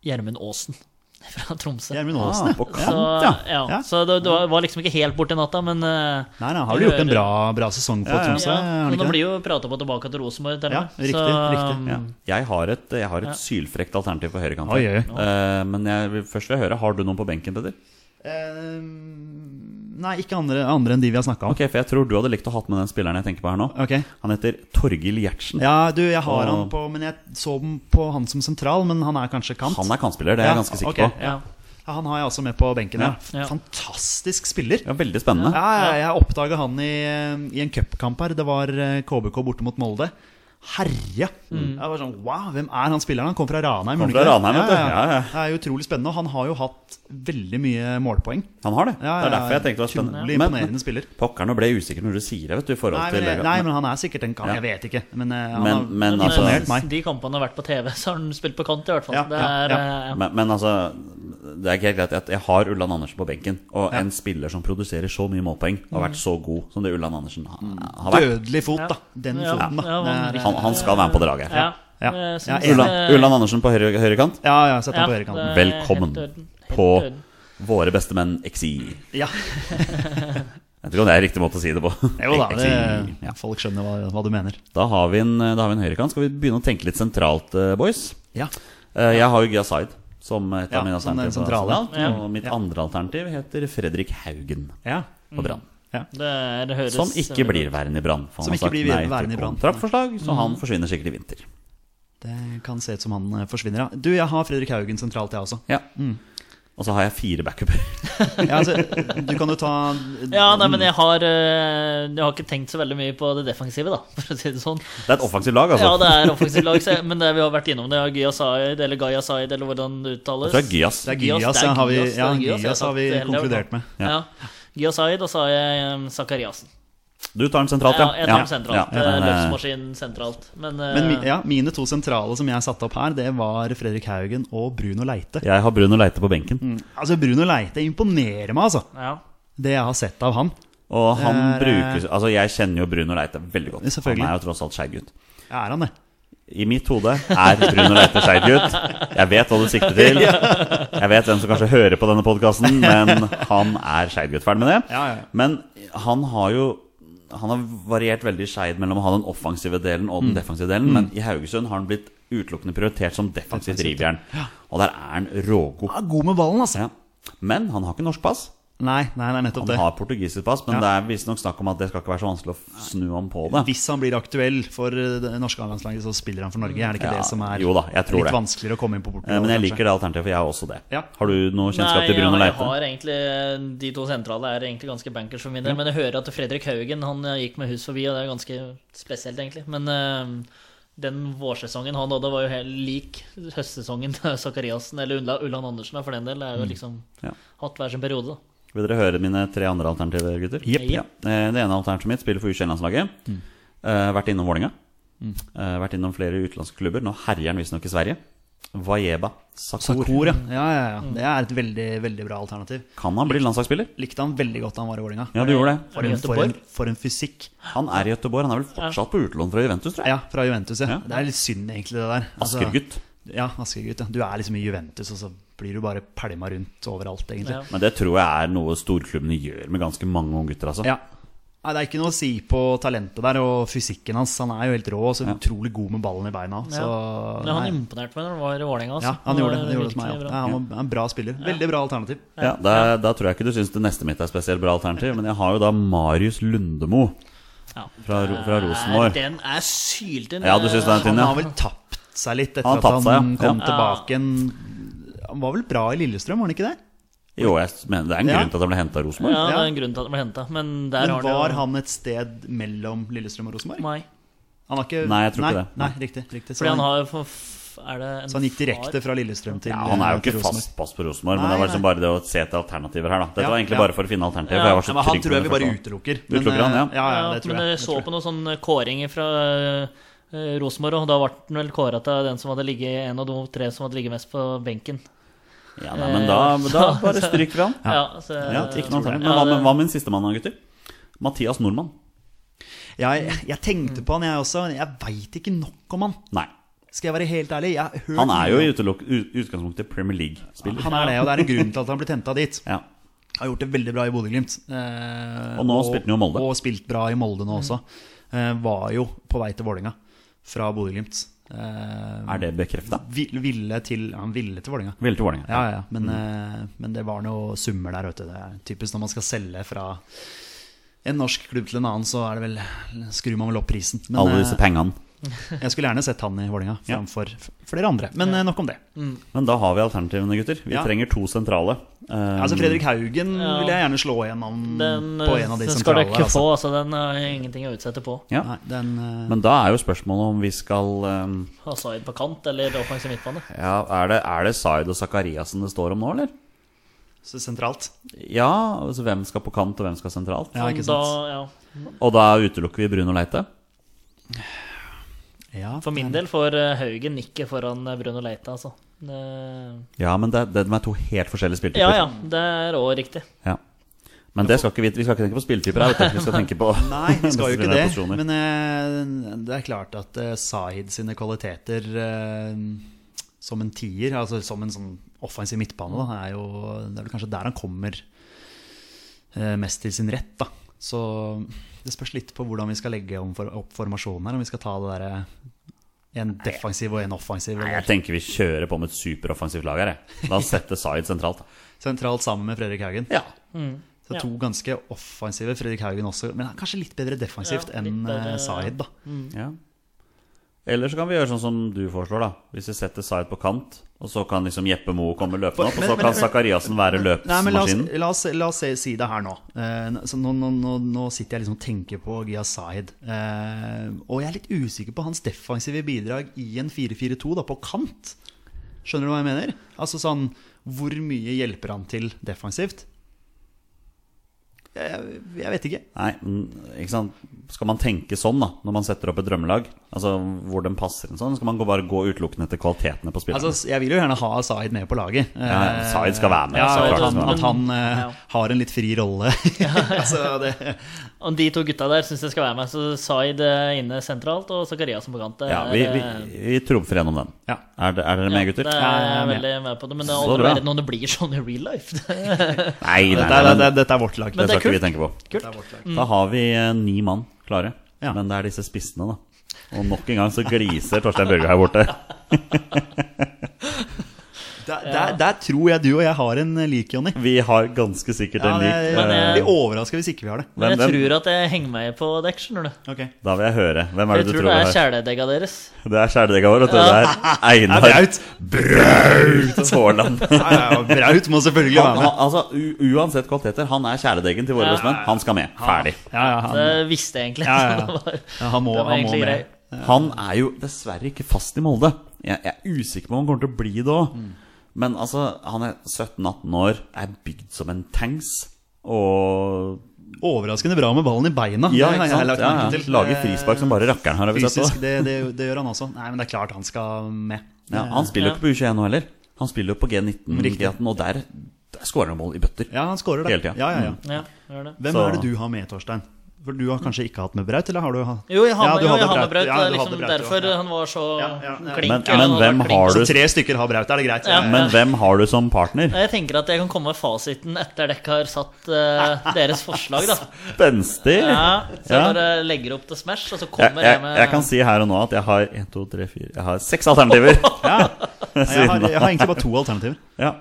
D: Gjermund Aasen fra Tromsø.
C: Gjermund
B: Ah,
C: Aasen, ja.
B: på
D: Så, eh,
B: kant, ja.
D: ja.
C: Ja.
D: så det, det var- var liksom ikke helt borti natta, men eh,
C: Nei, nei, han har jo gjort en bra, bra sesong på
B: Ja, ja.
C: Tromsø?
D: ja,
C: har han
D: men
C: ikke
D: nå
C: det?
D: blir jo prata på tilbake til Rosenborg. til og
C: Ja,
D: med.
C: riktig, riktig,
D: mm,
B: Ja. Jeg har et, jeg har et sylfrekt alternativ på høyrekant.
C: Oi, oi,
B: Eh, men jeg, vil- først vil jeg høre, har du noen på benken, Peder?
C: Eh, Nei, ikke andre, andre enn de vi har snakka om.
B: Ok, For jeg tror du hadde likt å hatt med den spilleren jeg tenker på her nå.
C: Ok.
B: Han heter Torgil Gjertsen.
C: Ja, du, jeg har
B: Og-
C: han på Men jeg så den på han som sentral, men han er kanskje kant.
B: Han er kantspiller, det er jeg ganske sikker på.
C: Ja. Ja, han har jeg også med på benken.
B: Ja.
C: Ja.
D: Ja.
C: Fantastisk spiller.
B: Ja, Veldig spennende.
C: Ja, ja, jeg oppdaga han i, i en cupkamp her. Det var eh, KBK borte mot Molde. Herja! Jeg var sånn, wow, Hvem er han spilleren? Han kom fra Ranheim.
B: Mm. Kom
C: gjorde
B: fra
C: han ikke det?
B: Ranheim, vet du. Ja, ja.
C: Det er jo utrolig spennende. Og han har jo hatt veldig mye målpoeng.
B: Han har det.
C: Ja,
B: det er
C: ja,
B: derfor jeg tenkte det var spennende.
C: utrolig
B: Men-
C: imponerende spiller.
B: Pokker, nå ble jeg usikker når du sier det, vet du. i forhold
C: Nei
B: til
C: men, jeg- nei, men han er sikkert en kant.
B: Ja.
C: Jeg vet ikke. Men, eh, han
B: Men-
C: har
B: men altså-
C: imponert meg.
D: de kampene har vært på TV, så har han spilt på kant, i hvert fall.
C: Ja,
D: det
C: ja,
D: er,
C: ja.
D: eh,
B: men, men altså, det er ikke helt greit at jeg har Ulland Andersen på benken. Og
C: Ja. Mm.
B: en spiller som produserer så mye målpoeng, og har vært så god som det Ulland Andersen ha- har vært.
C: Dødelig fot, da. Den
D: Ja,
C: foten, da.
D: ja,
C: Det er-
B: Han, han skal være med på det laget. her.
D: ja.
C: Ja.
D: Jeg syns
C: Ja,
D: det-
B: Ulland, Ulland Andersen på høyre, høyrekant.
C: Ja, ja, sett ham på
D: Ja,
C: høyrekanten.
D: det er
B: Velkommen
D: helt orden. Helt
B: På
D: orden.
B: våre beste menn XI.
C: Ja.
B: Jeg vet ikke om det er riktig måte å si det på.
C: Jo da, det,
B: XI. Ja.
C: folk skjønner hva, hva du mener.
B: Da har vi en, da har vi en høyrekant. Skal vi begynne å tenke litt sentralt, eh, boys?
C: Ja.
B: Eh, Jeg har jo Gia Zaid som et
C: Ja,
B: av mine
C: som den
B: alternativer. på
C: sentrale.
B: Arsenal,
D: Ja.
B: Og mitt
C: Ja. Mm.
B: andre alternativ heter Fredrik Haugen
C: ja.
B: på Brann.
D: Det er, det høres
B: Som ikke blir værende i Brann. for han
C: Som
B: har
C: ikke
B: sagt
C: blir
B: nei til
C: værende i Brann.
B: Kontraktforslag, så han forsvinner sikkert i vinter.
C: Det kan se ut som han eh, forsvinner, ja. Du, jeg har Fredrik Haugen sentralt, jeg også.
B: Ja. Mm. Og så har jeg fire backuper.
C: Ja, altså, du kan jo ta
D: Ja, nei, men jeg har, eh, jeg har ikke tenkt så veldig mye på det defensive, da, for å si det sånn.
B: Det er et offensivt lag, altså.
D: Ja, det er offensivt lag, så jeg- men det, vi har vært innom det. Gya Said, eller Gaya Said, eller hvordan det uttales.
B: Jeg tror det er Gyas.
C: Det er
D: Gyas,
C: Gyas,
D: det er
C: ja, har vi,
D: Gyas, det er
C: ja,
D: Gyas, jeg har
C: Gyas har vi
D: sagt det hele
C: konkludert med.
D: Ja. Gya Said, og så har jeg um, Zakariassen.
B: Du tar den sentralt,
D: Ja,
B: ja.
D: jeg tar
B: Ja,
D: dem sentralt.
B: ja,
D: eh,
B: den, eh,
D: Løpsmaskin sentralt. Men, eh,
C: Men mi- ja, mine to sentrale som jeg satte opp her, det var Fredrik Haugen og Bruno Leite.
B: Jeg har Bruno Leite på benken.
C: Altså, Bruno Leite imponerer meg, altså.
D: ja.
C: Det jeg har sett av han.
B: Og han
C: Det er, eh,
B: brukes Altså, jeg kjenner jo Bruno Leite veldig godt.
C: Selvfølgelig.
B: Han er jo tross alt skeiv gutt.
C: Ja, Er han det?
B: I mitt hode er Bruno Leite skeiv gutt. Jeg vet hva du sikter til. Jeg vet hvem som kanskje hører på denne podkasten, men han er skeiv gutt. Ferdig med det.
C: Ja, ja.
B: Men han har jo Han har variert veldig skeid mellom å ha den offensive delen og den
C: Mm.
B: defensive delen, men i Haugesund har han blitt utelukkende prioritert som defensiv
C: Defensivt,
B: drivjern. Og der er han rågod.
C: Han er god med ballen, altså.
B: Ja. Men han har ikke norsk pass.
C: Nei, nei, det er nettopp
B: Han
C: det.
B: har portugisisk pass, men
C: Ja.
B: det er visstnok snakk om at det skal ikke være så vanskelig å f- snu om på det.
C: Hvis han blir aktuell for eh, det norske A-landslaget, så spiller han for Norge. Er det ikke
B: Ja,
C: det som er
B: jo da, jeg tror
C: litt
B: det.
C: vanskeligere å komme inn på
B: Eh,
C: Portugal?
B: Men jeg
C: kanskje?
B: liker det alternativet, for jeg har også det.
C: Ja.
B: Har du noe kjennskap
D: Nei,
B: til Bruno
D: jeg, jeg
B: Leite?
D: har egentlig De to sentrale er egentlig ganske bankers for min del. Men jeg hører at Fredrik Haugen Han eh, gikk med hus forbi, og det er ganske spesielt, egentlig. Men eh, den vårsesongen han hadde, var jo helt lik høstsesongen til Zakariassen eller Ulla- Ulland Andersen, da, for den del. Det er
C: Mm.
D: jo liksom
B: Ja.
D: hatt hver sin periode, da.
B: Vil dere høre mine tre andre alternativer, gutter?
D: Jepp.
B: Ja. Eh, Det ene alternativet mitt spiller for U21-landslaget.
C: Mm.
B: Eh, Vært innom Vålerenga. Eh, Vært innom flere utenlandske klubber. Nå herjer han visstnok i Sverige. Vajeba Sakur.
C: Kor, ja. ja, ja, ja. Det er et veldig, veldig bra alternativ.
B: Kan han bli landslagsspiller?
C: Likte han veldig godt da han var i Vålerenga.
B: Ja, du gjorde det.
C: For en, for, en, for en fysikk.
B: Han er i Gøteborg. Han er vel fortsatt på utlån fra Juventus, tror jeg.
C: Ja, fra Juventus, ja.
B: Ja.
C: Det er litt synd, egentlig, det der. Altså,
B: Askergutt.
C: Ja, Askergutt. Ja. Du er liksom i Juventus, og så blir du bare pælma rundt overalt, egentlig.
D: Ja.
B: Men det tror jeg er noe storklubbene gjør med ganske mange unggutter, altså.
C: Ja. Nei, det er ikke noe å si på talentet der og fysikken hans. Han er jo helt rå og så utrolig god med ballen i beina. Så,
D: Ja. Men
C: nei.
D: han imponerte meg når han var i Vålerenga. altså.
C: ja, han gjorde det.
D: var
C: det gjorde det til meg,
D: virkelig
C: ja.
D: bra.
C: Ja, han var en bra spiller. Veldig bra alternativ.
B: Ja, da, da tror jeg ikke du syns det neste mitt er spesielt bra alternativ, men jeg har jo da Marius Lundemo
D: Ja.
B: fra, Ro- fra
D: Nei,
B: Rosenborg.
D: Den er syltynn.
B: Ja, du synes den er tynn,
C: Ah, Han
B: ja?
C: har vel tapt seg litt etter
B: Han har
C: at
B: tapt
C: han
B: seg, ja.
C: kom
B: Ja.
C: tilbake igjen. Han var vel bra i Lillestrøm, var han ikke det?
B: Jo, jeg mener det er en
C: Ja.
B: grunn til at han ble henta av Rosenborg.
D: Ja, det er en grunn til at den ble henta. Men der
C: Men
D: har
C: var
D: jo-
C: han et sted mellom Lillestrøm og Rosenborg?
D: Nei.
C: Han har ikke
B: Nei, jeg tror ikke det.
C: Nei, riktig. riktig. Så,
D: Fordi
C: han,
D: han har jo for- Er det en
C: så han gikk
D: far?
C: direkte fra Lillestrøm til
B: Ja, han er jo
C: til
B: ikke
C: Rosenborg.
B: fast pass på Rosenborg, men
C: Nei,
B: det var liksom
C: nei.
B: bare det å se etter alternativer her, da. Dette
C: Ja,
B: var egentlig
C: ja.
B: bare for å finne alternativer. for
D: Ja,
B: jeg var
C: Ja,
B: så
C: men han
B: trygg på
C: tror jeg
B: det
C: vi bare
B: første.
C: utelukker.
B: Utelukker han, ja.
C: eh, ja, ja,
D: Ja,
C: det tror
D: men
C: jeg.
D: jeg
C: Det
D: så
C: tror jeg.
D: på noen sånne kåringer fra eh, Rosenborg, og da ble den vel kåra til den som hadde ligget en av de tre som hadde ligget mest på benken.
B: Ja, nei, men da,
C: Eh,
B: da bare stryker vi han.
D: Ja, så,
B: Ja, ikke noe alternativ. Men
D: Ja,
B: hva med,
D: det-
B: hva med min sistemann, gutter? Mathias Nordmann.
C: Jeg, jeg tenkte på han, jeg også. Jeg veit ikke nok om han.
B: Nei.
C: Skal jeg være helt ærlig? Jeg har hørt
B: Han er jo i
C: mye om-
B: utelukk- u- utgangspunktet Premier League-spiller.
C: Han er det, og det er en grunn til at han ble henta dit.
B: Ja.
C: Har gjort det veldig bra i Bodø-Glimt. eh,
B: Og nå spilte han jo i Molde.
D: Mm.
C: Og spilt bra i Molde nå også. Eh, var jo på vei til Vålerenga fra Bodø-Glimt. Eh,
B: Er det bekrefta?
C: vil- ville til ja, Han ville til Vålerenga.
B: Ville til Vålerenga.
C: Ja, ja, ja. Men, eh, men det var noe summer der, vet du. Det er typisk når man skal selge fra en norsk klubb til en annen, så er det vel, skrur man vel opp prisen. Men
B: Alle disse
C: eh,
B: pengene.
C: jeg skulle gjerne sett han i Vålerenga framfor f- flere andre. Men eh, nok om det.
D: Mm.
B: Men da har vi alternativene, gutter. Vi
C: Ja.
B: trenger to sentrale. Eh,
C: Altså Fredrik Haugen
D: Ja.
C: vil jeg gjerne slå gjennom
D: eh, Den,
C: på en av de
D: den skal
C: sentrale.
D: dere ikke
C: altså.
D: få, altså. Den har jeg ingenting å utsette på.
B: Ja.
C: Nei, den, eh,
B: Men da er jo spørsmålet om vi skal eh,
D: Hazard på kant eller offensiv midtbane.
B: Ja, er det, er det Zaid og Zakariassen det står om nå, eller?
C: så sentralt.
B: Ja, altså hvem skal på kant, og hvem skal sentralt?
C: Ja, ikke
D: Da,
C: sant?
D: ja.
B: Og da utelukker vi Bruno Leite.
C: Ja,
D: For min del får eh, Haugen nikke foran eh, Bruno Leite, altså. Det-
B: Ja, men det, det, de er to helt forskjellige
D: Ja
B: spilltyper.
D: ja, det er òg riktig.
B: Ja. Men det skal ikke vi, vi skal ikke tenke på spilltyper her, vet du. vi skal tenke på
C: Nei, vi skal jo ikke det.
B: posisjoner.
C: Men eh, det er klart at eh, Zaid sine kvaliteter eh, som en tier, altså som en sånn offensiv midtbane, da, er jo Det er vel kanskje der han kommer eh, mest til sin rett, da. Så det spørs litt på hvordan vi skal legge om for, opp formasjonen her. Om vi skal ta det derre en defensiv og en offensiv.
B: Nei, jeg
C: Eller
B: tenker vi kjører på med et superoffensivt lag her. jeg. La oss sette Zaid sentralt.
C: sentralt sammen med Fredrik Haugen.
B: Ja.
C: Så
D: Mm. Ja.
C: To ganske offensive. Fredrik Haugen også, men han er kanskje litt bedre defensivt
D: Ja, litt
C: enn
D: bedre,
C: eh,
D: ja.
C: Zaid, da.
B: ja. Eller så kan vi gjøre sånn som du foreslår, da. Hvis vi setter Zaid på kant, og så kan liksom Jeppe Moe komme løpende opp, og så
C: Men- men-
B: kan Zakariassen være
C: Nei, men la oss,
B: løpsmaskinen.
C: la oss, la oss se, si det her nå. Eh, n- så nå, nå, nå. Nå sitter jeg liksom og tenker på Gia Zaid. Eh, og jeg er litt usikker på hans defensive bidrag i en 4-4-2, da, på kant. Skjønner du hva jeg mener? Altså sånn Hvor mye hjelper han til defensivt? Jeg, jeg vet ikke.
B: Nei, men, ikke sant? Skal man tenke sånn da, når man setter opp et drømmelag? Altså hvor den passer en sånn? Skal man gå, bare gå utelukkende etter kvalitetene på spillerne?
C: Altså, s- jeg vil jo gjerne ha Zaid med på laget.
B: Ja, ja, Zaid skal være med,
C: Ja,
B: altså,
C: at
D: klart han
C: han,
D: skal
C: at
D: være
C: han
D: med.
C: eh,
D: Ja.
C: har en litt fri rolle. altså, det,
D: Og de to gutta der syns jeg skal være med. Så Zaid eh, inne sentralt og Zakariassen på kant. Det
B: ja,
D: er,
B: vi, vi,
D: eh,
B: vi trumfer gjennom den.
C: ja.
B: Er, det, er dere med, gutter?
D: Ja,
C: Ja,
D: det er
C: jeg
D: jeg
C: er
D: er
C: med.
D: veldig med på det. Men det er
B: Så
D: aldri
B: bra.
D: verre når det blir sånn i real life. Det-
B: Nei, nei,
C: Dette,
B: nei,
C: er, dette,
B: men,
C: er, dette er vårt lag.
B: det
D: det er
B: skal ikke vi
D: kult.
B: tenke på.
C: Dette er vårt lag.
B: Da har vi eh, ni mann klare.
C: Ja.
B: Men det er disse spissene, da. Og nok en gang så gliser Torstein Børge her borte.
C: Der, der, der tror jeg du og jeg har en eh, lik, Jonny.
B: Vi har ganske sikkert en
C: det
B: lik.
C: er-
D: Men
B: eh,
D: jeg-
C: blir overraska hvis ikke vi har det.
D: Men
B: Hvem-
D: jeg
B: hvem?
D: tror at jeg henger meg på dekk, skjønner du.
B: Da vil jeg høre. Hvem er det
D: Jeg
B: du
D: tror
B: tror
D: det
B: det
D: er
B: er?
D: kjæledegga deres.
B: Det er Kjæledegga vår, vet du. Det er Einar
C: Braut.
B: Braut Haaland.
C: Ja, ja, Braut må selvfølgelig
B: Han,
C: være med.
B: han, altså, u uansett kvaliteter, han er kjæledeggen til våre
D: Ja.
B: bestemenn. Han skal med. Ferdig.
C: Ja, ja, han,
D: Det visste jeg egentlig.
C: Ja, ja, ja.
D: så det var-
C: ja, han må,
D: det var
C: han må
D: egentlig
C: med.
D: greit.
B: Han er jo dessverre ikke fast i Molde. Jeg, jeg er usikker på om han kommer til å bli det òg. Men altså, han er 17-18 år, er bygd som en tanks. Og
C: Overraskende bra med ballen i beina.
B: ja,
C: Det har jeg
B: ikke sant?
C: lagt
B: Ja,
C: merke
B: ja.
C: til.
B: Lager frispark som bare rakkeren har. har vi sett
C: Fysisk,
B: også.
C: det, det, det gjør han også. Nei, men det er klart han skal med.
B: Ja, han spiller jo
D: Ja.
B: ikke på U21 nå heller. Han spiller jo på G19, G18, og der, der skårer han mål i bøtter.
C: Ja, han scorer, da.
B: Hele tiden.
C: Ja, ja, ja.
D: Ja, det var det.
C: Hvem
B: Så-
C: er det du har med, Torstein? For Du har kanskje ikke hatt med Braut? eller har du hatt?
D: Jo, jeg har
C: Ja,
D: med,
C: du
D: jo,
C: hadde
D: jeg har med
C: Braut,
D: Braut.
C: ja,
D: det er
C: du hadde
D: liksom
C: Braut,
D: derfor han var så
C: Ja, ja, ja.
D: klink.
B: Men- men
D: eller han var
B: hvem
D: klink.
B: har
C: Så
B: du-
C: tre stykker har Braut, er det greit?
D: Ja.
B: Men hvem har du som partner?
D: Jeg tenker at jeg kan komme med fasiten etter dere har satt eh, deres forslag, da.
B: Spenstig!
D: Ja, så jeg
B: Ja.
D: bare legger opp til Smash, og så
B: jeg,
D: kommer
B: jeg,
D: jeg med
B: jeg kan si her og nå at jeg har en, to, tre, fire, jeg har seks alternativer.
C: Nei, Jeg, har, jeg har egentlig bare to alternativer.
B: ja.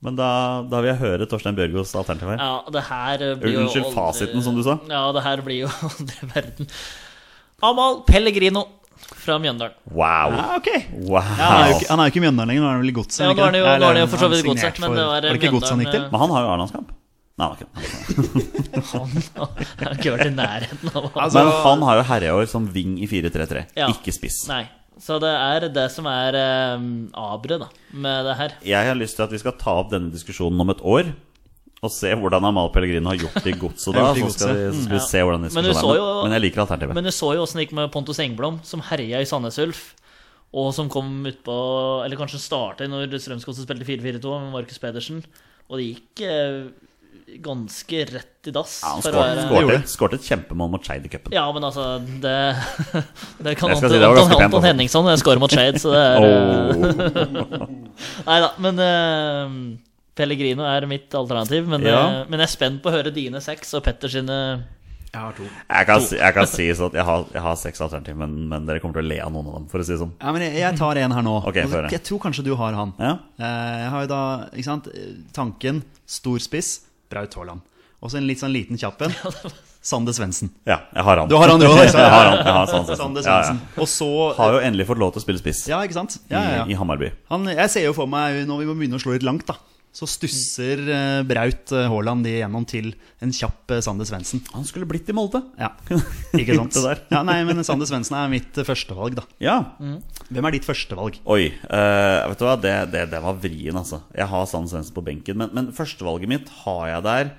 B: Men da, da vil jeg høre Torstein Bjørgos alternativ her.
D: Ja, det her blir jo
B: Unnskyld,
D: aldri-
B: fasiten, som du sa?
D: Ja, det her blir jo aldri verden. Amahl Pellegrino fra Mjøndalen.
B: Wow!
C: Ja, Ah, ok Ja, han, er jo
B: wow.
C: ikke, han er jo ikke i Mjøndalen lenger, nå er han vel i godset?
D: Ja, nå er han
C: ikke det?
D: jo- nå er han jo
C: Eller
D: for så
C: han
D: vidt i
C: er
D: Godset,
C: signert
D: men det var
C: Var det ikke godset han gikk
D: Mjøndalen,
C: til?
B: Men han har jo A-landskamp. Nei, han har ikke det.
D: Han jeg har ikke vært i nærheten av han.
C: Altså-
B: Men han har jo herreår som wing i 4-3-3,
D: Ja.
B: ikke spiss.
D: Nei. Så det er det som er eh, aberet, da, med det her.
B: Jeg har lyst til at vi skal ta opp denne diskusjonen om et år. Og se hvordan Amal Pellegrino har gjort det i godset da.
C: Har gjort det i
B: Så skal vi,
C: godset.
B: så skal vi se hvordan det
D: Men du
B: skal
D: så
B: være.
D: jo-
B: Men jeg liker alternativet.
D: Men du så jo åssen det gikk med Pontus Engblom, som herja i Sandnes Ulf. Og som kom utpå Eller kanskje starta når Strømsgodset spilte 4-4-2 med Markus Pedersen. Og det gikk eh, ganske rett i dass.
B: Ja, han
D: for å
B: skåret,
D: være-
B: skåret,
C: gjorde
B: et- skåret et kjempemål mot Skeid i cupen.
D: Ja, men altså Det, det kan
B: Jeg skal
D: Anton,
B: si det var ganske pent, altså.
D: Anton, Anton Henningson jeg scorer mot Shade, så det er eh,
B: Oh.
D: Nei da, men eh, Pellegrino er mitt alternativ. Men,
B: Ja.
D: eh, men jeg er spent på å høre dine seks og Petter sine
C: Jeg har to.
B: Jeg kan, si- jeg kan si sånn at jeg har, jeg har seks alternativ, men, men dere kommer til å le av noen av dem. For å si det sånn
C: Ja, men jeg, jeg tar en her nå.
B: Ok, få høre.
C: jeg tror kanskje du har han.
B: Ja.
C: Eh, Jeg har jo da ikke sant, tanken stor spiss, Braut Haaland. Og så en litt sånn liten kjapp en. Sander Svendsen.
B: Ja, jeg har han.
C: Du har han, du også, ikke sant? Sånn,
B: Jeg har han, jeg har Sander Svendsen.
C: Sander
B: Ja, ja.
C: Svendsen. Og så
B: Har jo endelig fått lov til å spille spiss
C: Ja, ikke sant? Ja, ja,
B: I, i
C: ja.
B: Hammarby.
C: Han, jeg ser jo for meg, når vi må begynne å slå litt langt, da, så stusser eh, Braut eh, Haaland igjennom til en kjapp eh, Sander Svendsen.
B: Han skulle blitt i Molde.
C: Ja, ikke sant?
B: Det der.
C: Ja, nei, men Sander Svendsen er mitt eh, førstevalg, da.
B: Ja.
C: Mm. Hvem er ditt førstevalg?
B: Oi. eh, vet du hva, det, det, det var vrien, altså. Jeg har Sand Svendsen på benken, men, men førstevalget mitt har jeg der.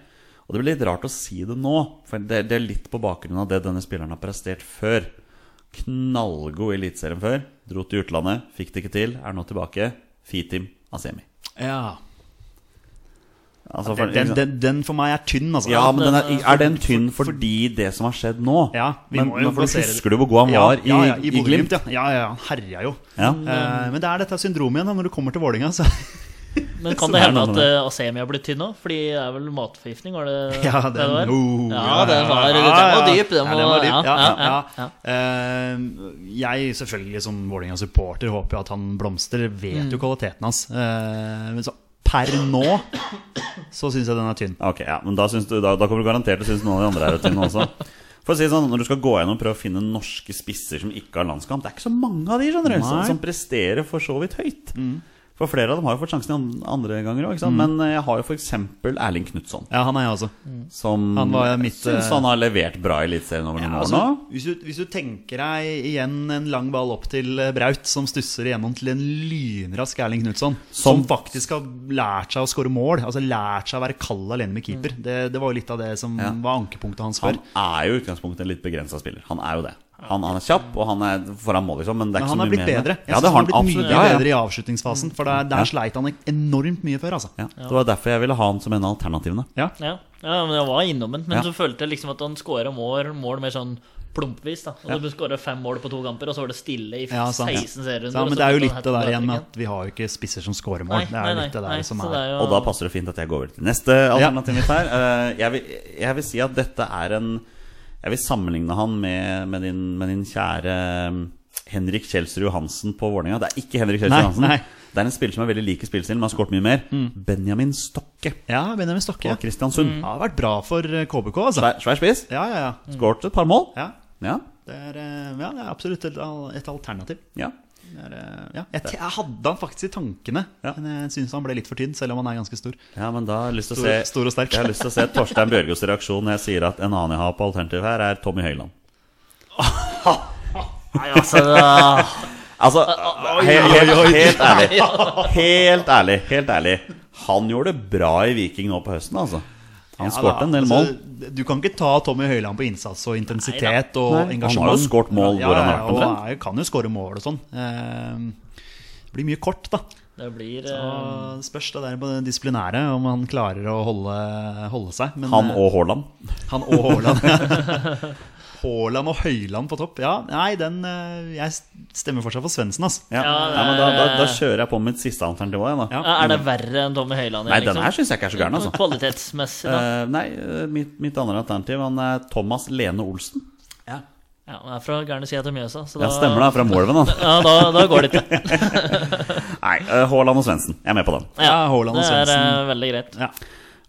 B: Og det blir litt rart å si det nå, for det, det er litt på bakgrunn av det denne spilleren har prestert før. Knallgod i Eliteserien før. Dro til utlandet, fikk det ikke til, er nå tilbake. Fitim Asemi.
C: Ja,
B: Altså, for-
C: Den, den, den for meg er tynn, altså.
B: Ja, men den er,
D: den er-
B: er den tynn fordi det som har skjedd nå?
C: Ja, vi
B: men,
C: må jo
B: men for
C: plassere det.
B: Husker du hvor god han var
C: ja, ja,
B: i, i
C: Bodø-Glimt,
B: Glimt?
C: ja. ja, ja, han herja jo.
B: Ja.
C: Eh, men det er dette syndromet igjen, da, når du kommer til Vålinga Så.
D: Men
B: Så
D: kan det
B: det er
D: hende
B: noe
D: at
B: med
D: eh, Asemi har blitt tynn nå? Fordi det er vel matforgiftning, var det
C: Ja,
D: det
C: den- oh,
D: ja,
C: ja,
D: den var, den
C: ja,
D: var
C: ja.
D: dyp. Den
C: Ja, den var dyp. Ja, ja,
D: ja,
C: ja. Eh, jeg, selvfølgelig som Vålerenga-supporter, håper jo at han blomstrer. Vet
D: Mm.
C: jo kvaliteten hans. Eh, men så per nå så syns jeg den er tynn.
B: Ok, ja, men da, syns du, da, da kommer du garantert til å synes noen av de andre er tynne også. For å si det sånn, Når du skal gå gjennom og prøve å finne norske spisser som ikke har landskamp Det er ikke så mange av de skjønner du, som,
C: Nei. Mm.
B: som presterer for så vidt høyt. For flere av dem har jo fått sjansen i an- andre ganger òg. Men eh, jeg har jo f.eks. Erling Knutson.
C: Ja, han er jeg også.
D: Mm.
B: Som
C: Han var mitt,
B: syns
C: eh,
B: han har levert bra i Eliteserien over noen
C: Ja,
B: år
C: altså,
B: nå.
C: hvis, du, hvis du tenker deg igjen en lang ball opp til eh, Braut, som stusser igjennom til en lynrask Erling Knutson, som,
B: Som-
C: faktisk har lært seg å skåre mål, altså lært seg å være kald alene med keeper.
D: Mm.
C: Det, det var jo litt av det som
B: Ja.
C: var ankepunktet hans
B: Han
C: før.
B: er jo i utgangspunktet en litt begrensa spiller. Han er jo det. Han, han er kjapp, og han er foran mål, liksom. Men
C: Men
B: det er ikke
C: han
B: så
C: har
B: mye
C: blitt
B: mer.
C: bedre. Jeg
B: Ja,
C: synes
B: det
C: han
B: har han
C: har blitt
B: absolutt.
C: mye
B: Ja, ja.
C: bedre i avslutningsfasen, for der, der
B: Ja.
C: sleit han enormt mye før, altså.
B: Ja, det var derfor jeg ville ha han som en av alternativene.
C: Ja.
D: ja. ja, men jeg var innom den. Men
B: Ja.
D: så følte jeg liksom at han skåra mål, mål mer sånn plumpvis. da Og Du skåra fem mål på to kamper, og så var det stille i
C: Ja, sant.
D: 16
C: Ja,
D: serierunder. og så
C: men det er jo
D: fikk
C: litt
D: han
C: det der
D: hat-trick
C: igjen med at vi har jo ikke spisser som scorer mål. Det er jo litt det der som
D: så
C: er
D: det er jo-
B: Og da passer det fint at jeg går over til neste alternativ mitt her. Eh, Jeg vil, jeg vil si at dette er en Jeg vil sammenligne han med, med, din, med din kjære eh, Henrik Kjelsrud Johansen på Vålerenga. Det er ikke Henrik Kjelsrud
C: Nei,
B: Johansen.
C: nei. Mm.
B: Det er en spiller som er veldig lik i spillestilen, men har skåret mye mer. Benjamin Stokke
C: Ja, Mm. Benjamin Stokke.
B: på Kristiansund.
C: Ja, det har vært bra for eh, KBK, altså.
B: Svær, svær spiss.
C: Ja, ja, ja.
B: Skåret et par mål.
C: Mm. ja.
B: Ja.
C: Det er, eh, ja, det er absolutt et, al- et alternativ.
B: ja.
C: Det er, eh, ja. jeg, te- jeg hadde han faktisk i tankene,
B: Ja.
C: men jeg syns han ble litt for tynn, selv om han er ganske stor.
B: Ja, men da har jeg lyst til å
C: Stor-
B: se
C: stor og sterk.
B: Jeg har lyst til å se Torstein Bjørgos reaksjon når jeg sier at en annen jeg har på alternativ her, er Tommy Høiland.
D: Nei, altså, da-
B: Altså, he helt, helt ærlig. Helt ærlig, helt ærlig. Han gjorde det bra i Viking nå på høsten, altså. Han skåret en del mål.
C: Altså, du kan ikke ta Tommy Høiland på innsats og intensitet og
B: Nei. Han
C: engasjement.
B: har jo skåret mål hvor han har vært
C: og
B: omtrent.
C: er jo- kan jo skåre mål og sånn. Eh, Det blir mye kort, da.
D: det blir eh,
C: Og spørs det der på det disiplinære om han klarer å holde, holde seg. Men,
B: Han
C: eh,
B: og Haaland.
C: Han og Haaland. Haaland og Høyland på topp. Ja, nei, den eh, Jeg stemmer fortsatt for Svendsen, altså.
B: Ja.
D: Ja,
B: ja, men da, da, da kjører jeg på mitt siste alternativ òg, jeg, da.
C: Ja.
D: Er det verre enn Tommy Høiland?
B: Mm. Nei,
D: igjen,
B: den
D: liksom?
B: her syns jeg ikke er så gæren, altså.
D: Kvalitetsmessig, da.
B: Eh, nei, eh, mitt, mitt andre alternativ han er Thomas Lene Olsen.
D: Ja, han er fra gærne sida til Mjøsa. Så da,
B: Ja, stemmer det, fra Målven, han.
D: Ja, da, da går det ikke.
B: Nei, eh, Haaland og Svendsen. Jeg er med på den.
C: Ja, Haaland og
D: det er eh,
C: Svendsen.
D: veldig greit.
C: Ja.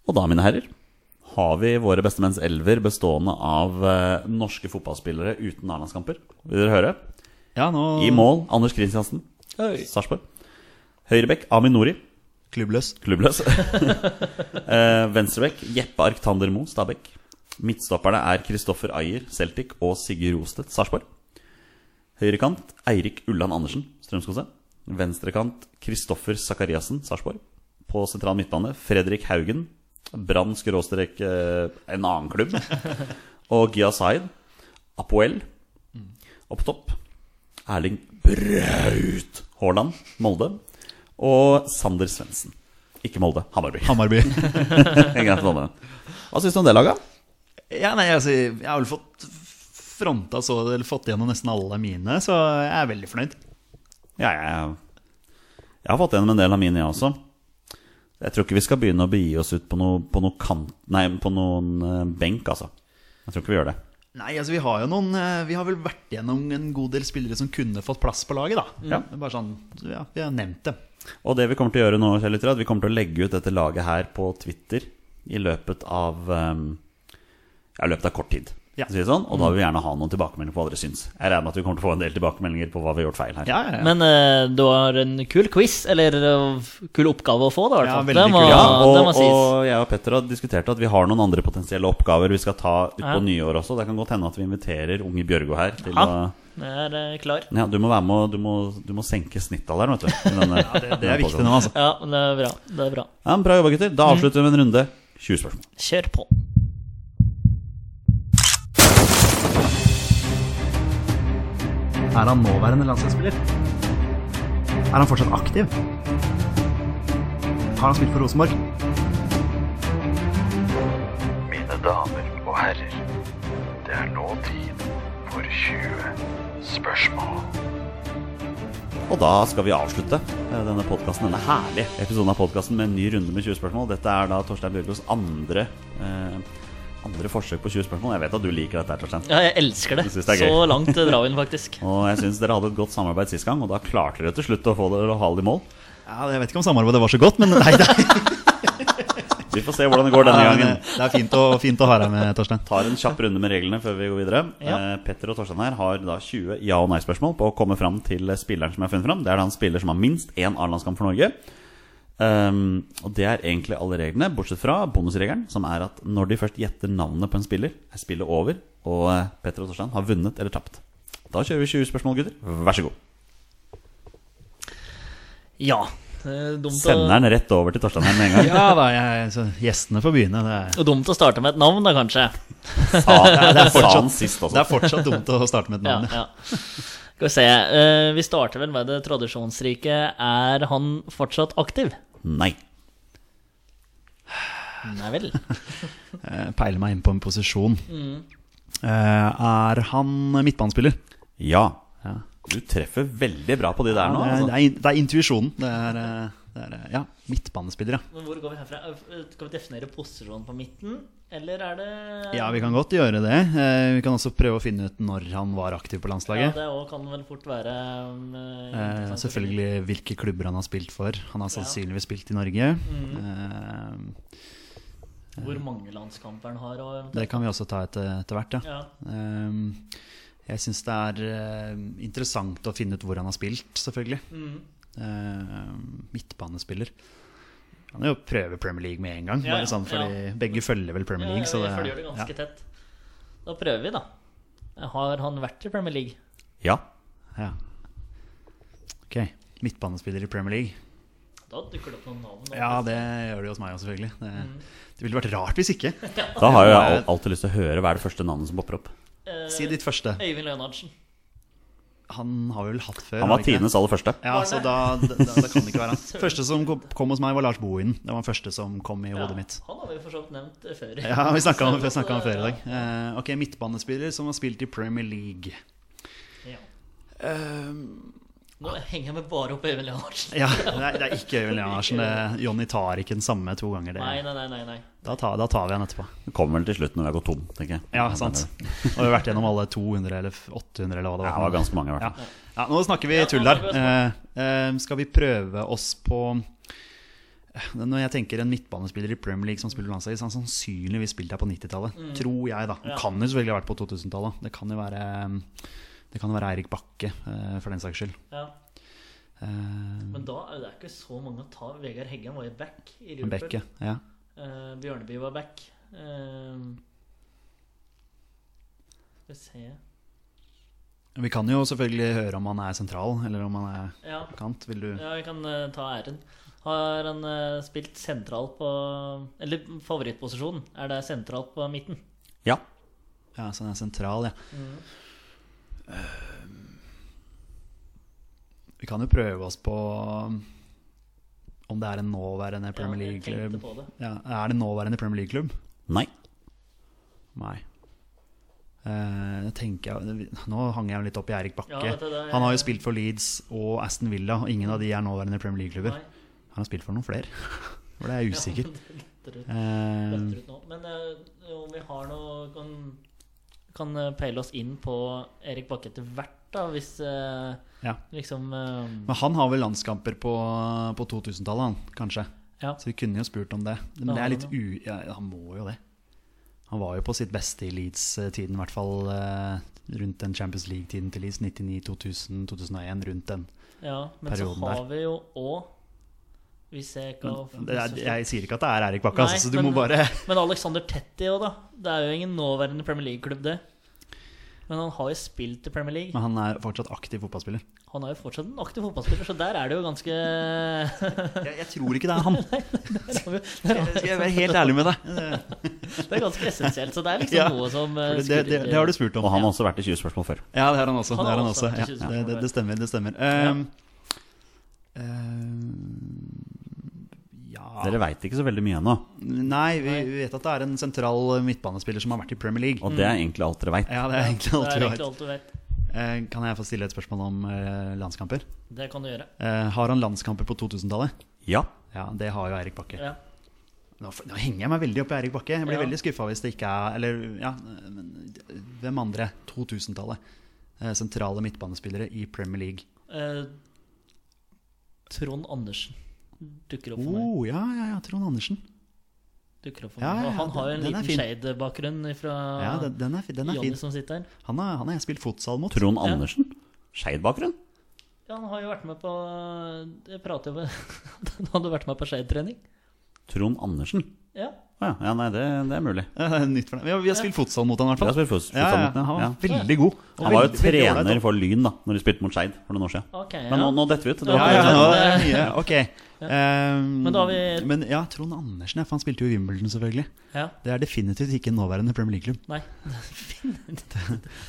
B: Og da, mine herrer, har vi våre bestemenns elver bestående av eh, norske fotballspillere uten A-landskamper. Vil dere høre?
C: ja, nå
B: I mål Anders Kristiansen, Sarpsborg. Høyrebekk Amin Nori,
C: Klubbløs.
B: klubbløs. Eh, Venstrebekk Jeppe Arctander Moe, Stabæk. Midtstopperne er Kristoffer Ayer, Celtic, og Sigurd Rostedt, Sarpsborg. Høyrekant Eirik Ulland Andersen, Strømskose. Venstrekant Kristoffer Sakariassen, Sarpsborg. På sentral midtbane Fredrik Haugen, Brann skråstrek eh, en annen klubb. Og Gia Zaid, Apoel. Og på topp Erling Braut Haaland, Molde. Og Sander Svendsen. Ikke Molde, Hammarby.
C: Hammarby.
B: Ikke sant, Molde. Hva syns du om det laget?
C: ja, nei, altså, jeg har vel fått fronta så Eller fått gjennom nesten alle mine, så jeg er veldig fornøyd.
B: Ja, jeg, jeg har fått gjennom en del av mine, jeg også. Jeg tror ikke vi skal begynne å begi oss ut på noe, på noe kant Nei, på noen eh, benk, altså. Jeg tror ikke vi gjør det.
C: Nei, altså vi har jo noen eh, Vi har vel vært gjennom en god del spillere som kunne fått plass på laget, da.
B: Ja.
C: Det er Bare sånn, så ja, Vi har nevnt dem.
B: Og det vi kommer til å gjøre nå, kjære lyttere, er at vi kommer til å legge ut dette laget her på Twitter i løpet av um, Ja, i løpet av kort tid.
C: Ja.
B: Så vi sier Sånn, og da vil vi gjerne ha noen tilbakemeldinger på hva dere syns. Jeg regner med at vi kommer til å få en del tilbakemeldinger på hva vi har gjort feil her.
C: Ja, ja, ja.
D: Men eh, du har en kul quiz, eller eh, kul oppgave å få, da. i hvert
C: Ja,
D: fall.
C: veldig
D: det må,
C: kul.
B: Ja, og,
D: det må sies.
B: og jeg og Petter har diskutert at vi har noen andre potensielle oppgaver vi skal ta utpå
D: Ja.
B: nyår også. Det kan godt hende at vi inviterer unge Bjørgo her til
D: Ja.
B: å
D: Jeg er eh, klar.
B: Ja, du må være med og du må, du må senke snittalderen, vet du. i Denne, ja,
C: Det er viktig nå, altså.
D: Ja, men det er bra. Det er bra.
B: Ja, men bra jobba, gutter. Da avslutter vi med en runde 20 spørsmål.
D: Kjør på.
C: Er han nåværende landslagsspiller? Er han fortsatt aktiv? Har han spilt for Rosenborg?
E: Mine damer og herrer, det er nå tid for 20 spørsmål.
B: Og da skal vi avslutte eh, denne podcasten, denne herlige episoden av podkasten med en ny runde med 20 spørsmål. Dette er da Torstein Bjørgos andre, eh, andre forsøk på 20 spørsmål. Jeg vet at du liker dette, her, Torstein.
D: Ja, jeg elsker det.
B: Jeg synes det er
D: Så
B: gøy.
D: langt eh, drar vi den faktisk.
B: Og jeg syns dere hadde et godt samarbeid sist gang, og da klarte dere til slutt å få det å ha det i mål.
C: Ja, jeg vet ikke om samarbeidet var så godt, men nei, det, er,
B: Vi får se hvordan det går denne gangen.
C: det er fint å, fint å ha deg med, Torstein.
B: Tar en kjapp runde med reglene før vi går videre.
D: Ja.
B: Eh, Petter og Torstein her har da 20 ja- og nei-spørsmål på å komme fram til spilleren som jeg har funnet fram. Det er da en spiller som har minst én A-landskamp for Norge. Ehm, og det er egentlig alle reglene, bortsett fra bonusregelen, som er at når de først gjetter navnet på en spiller, er spillet over, og eh, Petter og Torstein har vunnet eller tapt. Da kjører vi 20 spørsmål, gutter. Vær så god.
D: Ja. Det er dumt å,
B: Sender den rett over til Torstein her med en gang.
C: Ja da, jeg, så gjestene får begynne. Det er,
D: dumt å starte med et navn, da, kanskje.
B: Sa, det er
C: fortsatt-
B: sist også.
C: det er fortsatt dumt å starte med et
D: Ja,
C: navn.
D: ja. Skal vi se. eh, vi starter vel med det tradisjonsrike. Er han fortsatt aktiv?
B: Nei.
D: Nei vel.
C: Jeg peiler meg inn på en posisjon. Eh, er han midtbanespiller?
B: Ja.
C: Ja.
B: Du treffer veldig bra på de der nå.
C: det, er,
B: Altså.
C: det, er, det er intuisjonen. Det er, eh, det er, eh, ja, midtbanespiller, ja.
D: Men hvor går vi herfra? Eh, Skal vi definere posisjonen på midten, eller er det
C: Ja, vi kan godt gjøre det. Eh, Vi kan også prøve å finne ut når han var aktiv på
D: Ja,
C: landslaget.
D: det også kan vel fort være um,
C: Eh,
D: interessant å
C: Selvfølgelig hvilke klubber han har spilt for. Han har sannsynligvis spilt i Norge. Eh,
D: finne ut Hvor mange landskamper han har og eventuelt
C: Det kan vi også ta etter, etter hvert, ja.
D: ja.
C: Eh, Jeg syns det er eh, interessant å finne ut hvor han har spilt, selvfølgelig. Eh, Midtbanespiller. Kan jo prøve Premier League med en gang,
D: Ja, ja,
C: bare sånn fordi begge følger vel Premier League.
D: ja,
C: Så
D: vi
C: det,
D: følger det
C: ja.
D: ganske tett. Da prøver vi, da. Har han vært i Premier League?
B: Ja.
C: Ja. Ok, midtbanespiller i Premier League.
D: Da dukker det opp noen navn. da.
C: Ja, det gjør det jo hos meg også, selvfølgelig. Det,
D: Mm.
C: det ville vært rart hvis ikke.
B: Da har jo jeg al- alltid lyst til å høre hva er det første navnet som popper opp.
D: Eh,
C: Si ditt første.
D: Øyvind Leonardsen.
C: Han har vi vel hatt før.
B: Han
C: har
B: var
C: vi ikke det?
B: tidenes aller første.
C: Ja, så da, da, da kan det ikke være han. Første som kom, kom hos meg, var Lars Bohin. Det var den første som kom i hodet mitt.
D: Han har vi for så vidt nevnt eh, før.
C: Ja, Vi snakka om, vi snakket om det før i dag. Eh, ok, midtbanespiller som har spilt i Premier League.
D: Ja. Nå henger jeg meg bare opp Øyvind Leonardsen.
C: Ja, Det er, det er ikke Øyvind Leonardsen. det- Jonny tar ikke den samme to ganger.
D: Nei,
C: Det.
D: nei, nei. nei, nei.
C: Da, tar, da tar vi han etterpå.
B: Det kommer vel til slutt når vi har gått tom, tenker jeg.
C: Ja, sant. Nå har vi vært gjennom alle 200 eller 800 eller hva det
B: Ja,
C: var.
B: det var ganske mange, i hvert
C: Ja.
B: fall.
C: ja, nå snakker vi
D: Ja, nå
C: tull her.
D: snakker vi
C: Eh, eh, skal vi prøve oss på Eh, Når jeg tenker en midtbanespiller i Premier League som spiller landslaget, så har han sannsynligvis spilt her på 90-tallet.
D: Mm.
C: Tror jeg, da. Han kan jo selvfølgelig ha vært på 2000-tallet. Det kan jo være eh, Det kan jo være Eirik Bakke, eh, for den saks skyld.
D: Ja.
C: Eh,
D: Men da er det ikke så mange å ta. Vegard Heggen var jo back i Liverpool.
C: Bekke. Ja.
D: Eh, Bjørneby var back. Eh, skal vi se
C: Vi kan jo selvfølgelig høre om han er sentral, eller om han er
D: Ja,
C: kant. Vil du
D: ja jeg kan eh, ta æren. Har han eh, spilt sentralt på Eller favorittposisjonen, er det sentralt på midten?
B: Ja.
C: Ja, så den er sentral, ja. Eh, Vi kan jo prøve oss på om det er en nåværende Premier
D: Ja, jeg tenkte
C: League-klubb.
D: på det.
C: Ja, er det en nåværende Premier League-klubb?
B: Nei.
C: Nei. Eh, det tenker jeg, nå hang jeg jo litt opp i Eirik Bakke.
D: Ja, vet du, det er-
C: Han har jo spilt for Leeds og Aston Villa, og ingen av de er nåværende Premier League-klubber.
D: Nei.
C: Han har spilt for noen flere, for det er jeg usikker.
D: Ja, det detter ut-
C: Eh,
D: detter ut nå. Men eh, om vi har noe kan kan eh, peile oss inn på Erik Bakke etter hvert, da, hvis eh,
C: Ja.
D: liksom eh,
C: Men han har vel landskamper på, på 2000-tallet, han, kanskje.
D: Ja.
C: Så vi kunne jo spurt om det. Men
D: Ja,
C: det
D: han
C: er litt
D: har
C: u... Ja, han må jo det. Han var jo på sitt beste i Leeds-tiden, i hvert fall eh, rundt den Champions League-tiden til Leeds. 99, 2000, 2001, rundt den.
D: Ja, men så
C: perioden
D: har
C: der.
D: vi jo òg Hvis jeg ikke har
C: Det er, jeg sier ikke at det er Erik Bakke,
D: Nei,
C: altså, så du
D: men-
C: må bare
D: Men Alexander Tetti òg, da. Det er jo ingen nåværende Premier League-klubb, det. Men han har jo spilt i Premier League.
C: Men han er fortsatt aktiv fotballspiller.
D: Han er jo fortsatt en aktiv fotballspiller, så der er det jo ganske
C: Jeg, jeg tror ikke det er han.
D: Det
C: Skal jeg være helt ærlig med deg?
D: er ganske essensielt. Så det er liksom
C: Ja.
D: noe som eh,
C: Det, det, det, det har du spurt om.
B: Og han har også vært i 20 spørsmål før.
C: Ja, det har han også.
D: Han
C: det,
D: har
C: har han også.
D: også vært i
C: Ja,
D: Tusen
C: det, det,
D: Kroner.
C: det stemmer. Det stemmer.
D: Ja.
C: Ehm, ehm, ja
B: Dere veit ikke så veldig mye ennå.
C: Nei, vi vi vet at det er en sentral midtbanespiller som har vært i Premier League.
B: Og det er egentlig alt dere veit.
C: Mm. Ja, det er egentlig
D: Det
C: alt
D: er
C: vi
D: egentlig
C: vet.
D: alt du vet.
C: Eh, Kan jeg få stille et spørsmål om eh, landskamper?
D: Det kan du gjøre.
C: Eh, Har han landskamper på 2000-tallet?
B: Ja.
C: Ja, det har jo Eirik Bakke.
D: Ja.
C: Nå, f- nå henger jeg meg veldig opp i Eirik Bakke. Jeg blir
D: Ja.
C: veldig skuffa hvis det ikke er Eller ja, men hvem andre? 2000-tallet. Eh, Sentrale midtbanespillere i Premier League.
D: Eh, Trond Andersen dukker opp for meg.
C: Oh, ja, ja, ja, Trond Andersen.
D: Dukker opp for
C: Ja,
D: meg.
C: ja,
D: Og han har jo en
C: den- den er
D: liten
C: fin.
D: shade-bakgrunn fra
C: Ja, den, den er, fi- den er
D: Johnny
C: fin.
D: som sitter her.
C: Han har, han har jeg spilt futsal mot.
B: Trond Andersen. Skeid bakgrunn.
D: Ja, han har jo vært med på eh, Jeg prater jo med Han hadde vært med på shade-trening.
B: Trond Andersen.
D: Ja.
B: Å ja. ja, nei, det, det er mulig.
C: Ja, det er Nytt for deg. Vi har, vi har spilt futsal mot han i hvert
B: Jeg
C: fall.
B: har spilt fot-
C: Ja, ja,
B: fotball mot
C: han var
B: ham.
C: veldig god. Og
B: Han var jo
C: veldig- veldig ålreit,
B: trener for Lyn da Når de spilte mot Skeid for noen år siden.
D: Ok, ja.
B: Men nå, nå detter vi ut. Det
D: Ja,
C: Ja,
B: var
C: ja,
B: ikke-
C: nå er det mye. Ok. Ehm,
D: Men da har vi-
C: men ja, Trond Andersen, ja, for han spilte jo i Wimbledon, selvfølgelig.
D: ja.
C: Det er definitivt ikke en nåværende Premier League-klubb.
D: Nei.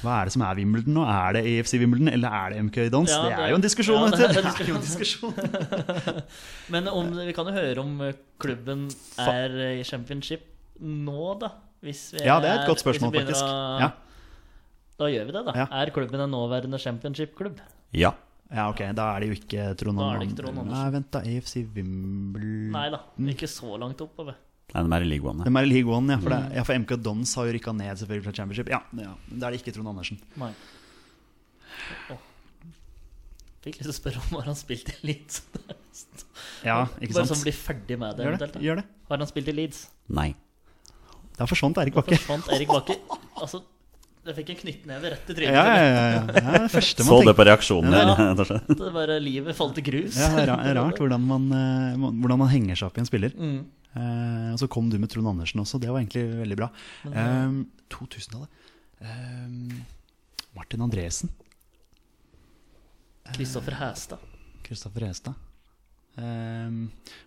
C: Hva er det som er Wimbledon nå? Er det EFC Wimbledon, eller er det MK Dons?
D: Ja,
C: det
D: det-
C: er jo en diskusjon,
D: ja,
C: vet du!
D: det er
C: Det
D: en
C: er jo en diskusjon.
D: Men om, vi kan jo høre om klubben er eh, i championship nå, da. Hvis vi
C: Ja, det er et godt
D: hvis vi
C: spørsmål,
D: begynner
C: faktisk.
D: å-
C: Ja,
D: Da gjør vi det, da.
C: Ja.
D: Er klubben en nåværende championship-klubb?
B: Ja.
C: ja, ok, da er det jo ikke Trond
D: Da er
C: Andersen.
D: det ikke Trond Andersen.
C: Nei, vent, da. EFC Wimbledon
D: Nei da, ikke så langt oppover.
B: Nei, de er i leagueone.
C: Hvem er i League One? Ja, for,
D: Mm.
C: det, ja, for MK Dons har jo rykka ned selvfølgelig fra Championship. Ja, ja, Da er det ikke Trond Andersen.
D: Nei. Åh. Fikk lyst til å spørre om har han spilt i Leeds.
C: Ja, ikke
D: Bare
C: sant?
D: sånn bli ferdig med det.
C: Gjør
D: eventuelt, da.
C: det. Gjør det.
D: Har han spilt i Leeds?
B: Nei.
C: Da forsvant Erik Bakke.
D: Forsvant Erik Bakke Altså, jeg fikk en knyttneve rett i
C: Ja,
D: trynet.
C: ja, ja, ja. Det er det første man
B: Så det
C: tenker.
B: på reaksjonen
D: Ja.
B: her. rett og slett.
D: Det er bare livet falt i grus.
C: Ja, det er ra- rart hvordan man, eh, hvordan man henger seg opp i en spiller.
D: Mm.
C: Eh, og så kom du med Trond Andersen også, det var egentlig veldig bra.
D: Mm.
C: Eh, 2000-tallet. Eh, Martin Andresen.
D: Kristoffer Hæstad.
C: Kristoffer Hestad. Eh,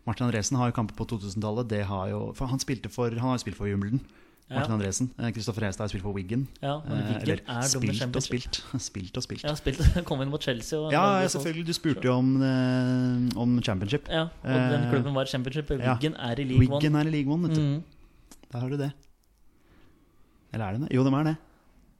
C: Martin Andresen har jo kamper på 2000-tallet. Det har jo, for han, spilte for, han har jo spilt for Wimbledon.
D: Ja.
C: Martin Andresen. Eh, Kristoffer Hestad har spilt for Wiggen.
D: Ja, men
C: Eh,
D: Wiggen
C: eller
D: er dumme
C: spilt og
D: championship.
C: spilt. Spilt og spilt.
D: Jeg har spilt, kom inn mot Chelsea. Og
C: Ja, ja, selvfølgelig. Du spurte jo om, eh, om championship.
D: Ja, og den
C: Eh,
D: klubben var i championship. og
C: ja.
D: Wiggen er i League
C: Wiggen
D: One.
C: er i League One, vet du.
D: Mm.
C: Der har du det. Eller er det det? Jo, de er det.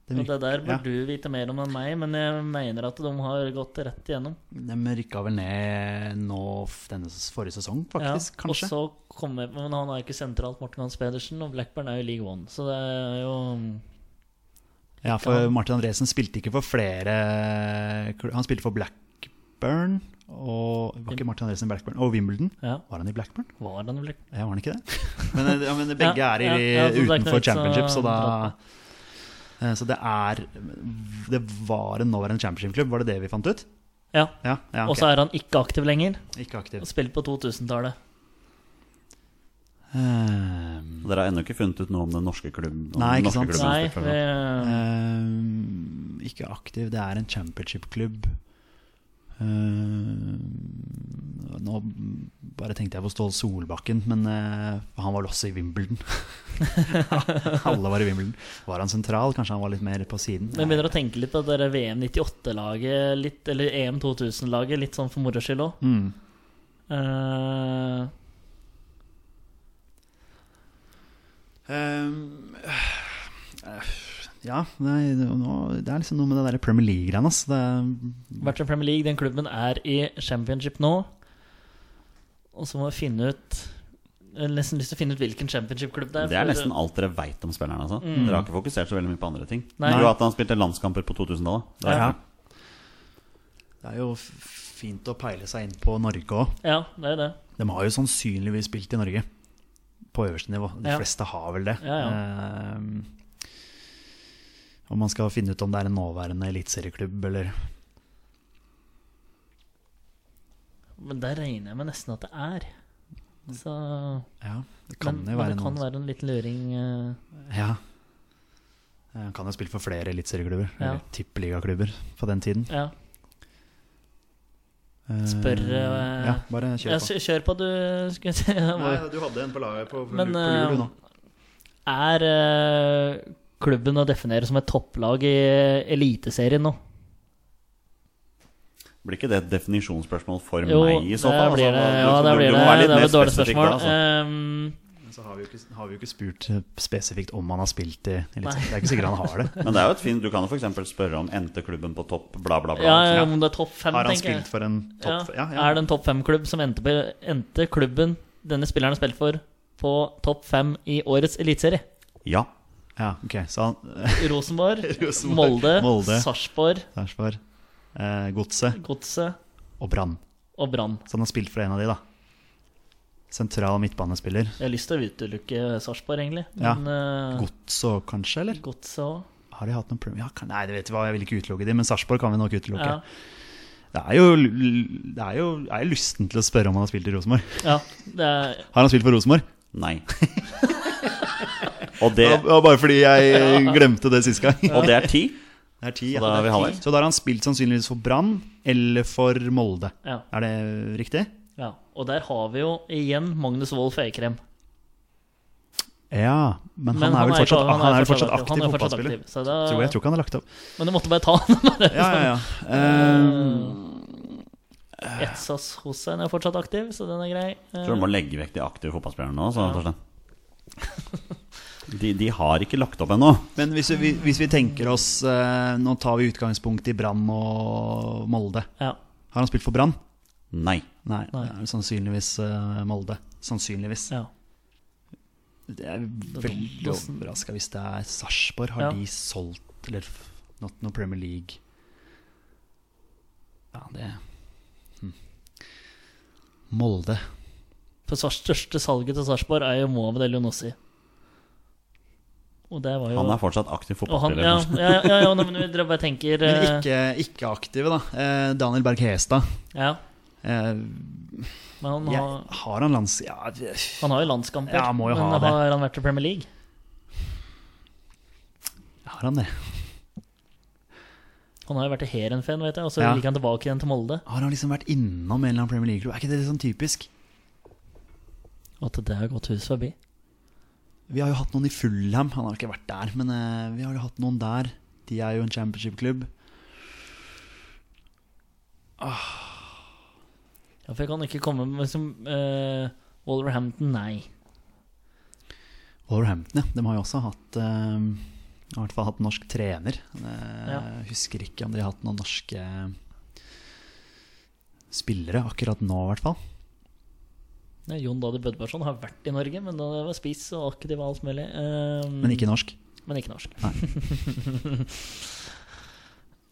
C: De,
D: Og det der bør
C: ja.
D: du vite mer om enn meg, men jeg mener at de har gått rett igjennom.
C: de rykka vel ned nå f- denne s- forrige sesong, faktisk,
D: og
C: kanskje.
D: så kom jeg, men han er jo ikke sentralt, Morten Hans Pedersen, og Blackburn er jo i League One. Så det er jo
C: Ja, for Martin Andresen spilte ikke for flere kl- Han spilte for Blackburn og Var ikke Martin Andresen i Blackburn? Og Wimbledon.
D: Ja,
C: Var han i Blackburn?
D: var han i Blackburn?
C: Ja, var han ikke det? Men, eh, ja, men begge
D: Ja,
C: er i,
D: ja, ja, så det er ikke noe
C: utenfor
D: vits å
C: championship, så da
D: dra
C: eh, så det er Det var en nåværende championship-klubb, var det det vi fant ut?
D: Ja.
C: Ja, ja
D: Og så
C: ok.
D: er han ikke aktiv lenger.
C: Ikke aktiv.
D: og Spilt på 2000-tallet.
C: Ehm,
B: Dere har ennå ikke funnet ut noe om den norske klubben? om
C: Nei,
B: den
C: ikke sant.
B: norske klubben
D: Nei,
B: som spiller for
D: vi,
B: Norge.
C: Ehm, ikke aktiv, det er en championship-klubb. Ehm, nå bare tenkte jeg på Ståle Solbakken, men eh, han var vel også i Wimbledon. Alle var i Wimbledon. Var han sentral? Kanskje han var litt mer på siden?
D: men jeg begynner å tenke litt på det der VM 98-laget, litt- eller E EM 2000-laget, litt sånn for moro skyld Eh, òg.
C: Mm. Ehm, eh, ja, nei, nå, det er liksom noe med det der Premier League-greiene. ass. Det
D: vært i Premier League. Den klubben er i championship nå. Og så må vi finne ut Jeg har nesten lyst til å finne ut hvilken championship-klubb det er.
B: Det er
D: for-
B: nesten alt dere veit om spilleren. Altså. Dere har ikke fokusert så veldig mye på andre ting.
D: Mm. Nei.
B: Jo, at han spilte landskamper på 2000-tallet. Det er-
C: Ja. Det er jo f- fint å peile seg inn på Norge òg.
D: Ja, det er jo det.
C: De har jo sannsynligvis spilt i Norge på øverste nivå. De
D: Ja.
C: fleste har vel det.
D: Ja,
C: Ehm, om man skal finne ut om det er en nåværende eliteserieklubb eller
D: Men der regner jeg med nesten at det er. Så,
C: Ja, det kan
D: men,
C: jo
D: men
C: være
D: det kan
C: noen
D: være en liten luring. eh,
C: Ja. Han kan jo spille for flere eliteserieklubber,
D: Ja.
C: eller tippeligaklubber på den tiden.
D: Ja.
C: Eh,
D: Spør, eh,
C: Ja, bare kjør
D: Ja,
C: på.
D: kjør, kjør på, du. Skal jeg si.
C: du hadde en på laget på,
D: Men, lur, du, nå. Er eh, klubben å definere som et topplag i Eliteserien nå?
B: Blir ikke det et definisjonsspørsmål for
D: Jo,
B: meg i så
D: det
B: fall? altså?
D: blir det.
B: Du-
D: Ja,
B: du-
D: det
B: du
D: blir
B: må
D: det.
B: være litt
D: Det er
B: mer
D: et dårlig
B: spesifikk der,
D: spørsmål.
B: altså.
D: Ehm,
C: Så har vi, jo ikke, har vi jo ikke spurt eh, spesifikt om han har spilt i Eliteserien. Det er ikke sikkert han har det.
B: Men det er jo et fint, du kan jo f.eks. spørre om endte klubben på topp, bla, bla, bla.
D: ja,
B: Så-
D: om det er topp fem,
C: Har han
D: tenker jeg.
C: spilt for en topp
D: ja. Er det en topp fem-klubb som endte, på, endte klubben denne spilleren har spilt for, på topp fem i årets eliteserie?
B: ja.
C: ja, ok. Så han
D: Rosenborg,
C: Rosenborg,
D: Molde,
C: Molde.
D: Sarpsborg,
C: Sarpsborg, eh, Godset
D: Godset
C: og Brann.
D: og Brann.
C: Så han har spilt for en av de, da. Sentral midtbanespiller.
D: Jeg har lyst til å utelukke Sarpsborg, egentlig.
C: Ja.
D: Men eh,
C: Godset òg, kanskje? Eller?
D: Godset òg.
C: Har de hatt noen problem? Ja, kan, nei, det vet du hva, jeg vil ikke utelukke de, men Sarpsborg kan vi nok utelukke.
D: Ja.
C: Det er jo, det er jo jeg er lysten til å spørre om han har spilt i Rosenborg.
D: ja. Det er
C: Har han spilt for Rosenborg?
B: Nei. Og det,
C: Ja, bare fordi jeg glemte det sist gang.
B: og det er ti.
C: Det er ti,
B: Og da er vi halvveis.
C: Så da har han spilt sannsynligvis for Brann eller for Molde.
D: Ja.
C: Er det riktig?
D: ja. Og der har vi jo igjen Magnus Wolff Eikrem.
C: Ja, men,
D: Men
C: han er vel
D: ikke-
C: fortsatt,
D: han er
C: han er vel fortsatt
D: han
C: aktiv
D: er fortsatt
C: fotballspiller.
D: aktiv, så da,
C: Tror jeg, jeg tror ikke han har lagt opp.
D: Men du måtte bare ta han.
C: Ja, ja, ja. Ehm,
D: Etsas Hossein er fortsatt aktiv, så den er grei. Eh,
B: Tror du må legge vekk de aktive fotballspillerne nå, så, Torstein. De, de har ikke lagt opp ennå.
C: men hvis vi, hvis vi tenker oss eh, Nå tar vi utgangspunkt i Brann og Molde.
D: Eh, Ja.
C: Har han spilt for Brann?
B: Nei.
C: Nei,
D: Nei.
C: det er sannsynligvis eh, Molde. Sannsynligvis.
D: ja.
C: Det er veldig overraska hvis det er Sarpsborg. Har
D: Ja.
C: de solgt eller f- not noe Premier League? Ja, det hm. Molde.
D: For Sars største salget til Sarpsborg er jo Mohamed El Younossi. Og det var jo
B: Han er fortsatt aktiv
D: og han,
B: fotballspiller.
D: ja,
B: kanskje.
D: ja, ja, ja, nei, men vi dere bare tenker
C: Men
D: eh,
C: ikke, ikke aktive, da. Eh, Daniel Berg Hestad.
D: Ja,
C: Eh,
D: men han
C: jeg,
D: har,
C: har han lands... Ja, det-
D: han har jo landskamper.
C: Ja, må jo
D: men
C: ha det.
D: har han vært i Premier League?
C: har han det?
D: Han har jo vært i Heerenveen, vet jeg, og så
C: Ja.
D: gikk han tilbake igjen til Molde.
C: Har han liksom vært innom en eller annen Premier League-klubb? Er ikke det litt sånn typisk?
D: At det har gått hus forbi.
C: Vi har jo hatt noen i Fulham. Han har ikke vært der, men eh, vi har jo hatt noen der. De er jo en championship-klubb.
D: Ja, for jeg kan ikke komme med som eh, Wolverhampton, nei.
C: Wolverhampton, ja. De har jo også hatt eh, i hvert fall hatt norsk trener. Eh,
D: Ja.
C: Husker ikke om de har hatt noen norske spillere akkurat nå, i hvert fall.
D: Ja, Jon Dadi Bødvarsson har vært i Norge, men da var spiss og aktiv og alt mulig. Eh,
C: Men ikke norsk.
D: men ikke norsk.
C: Nei.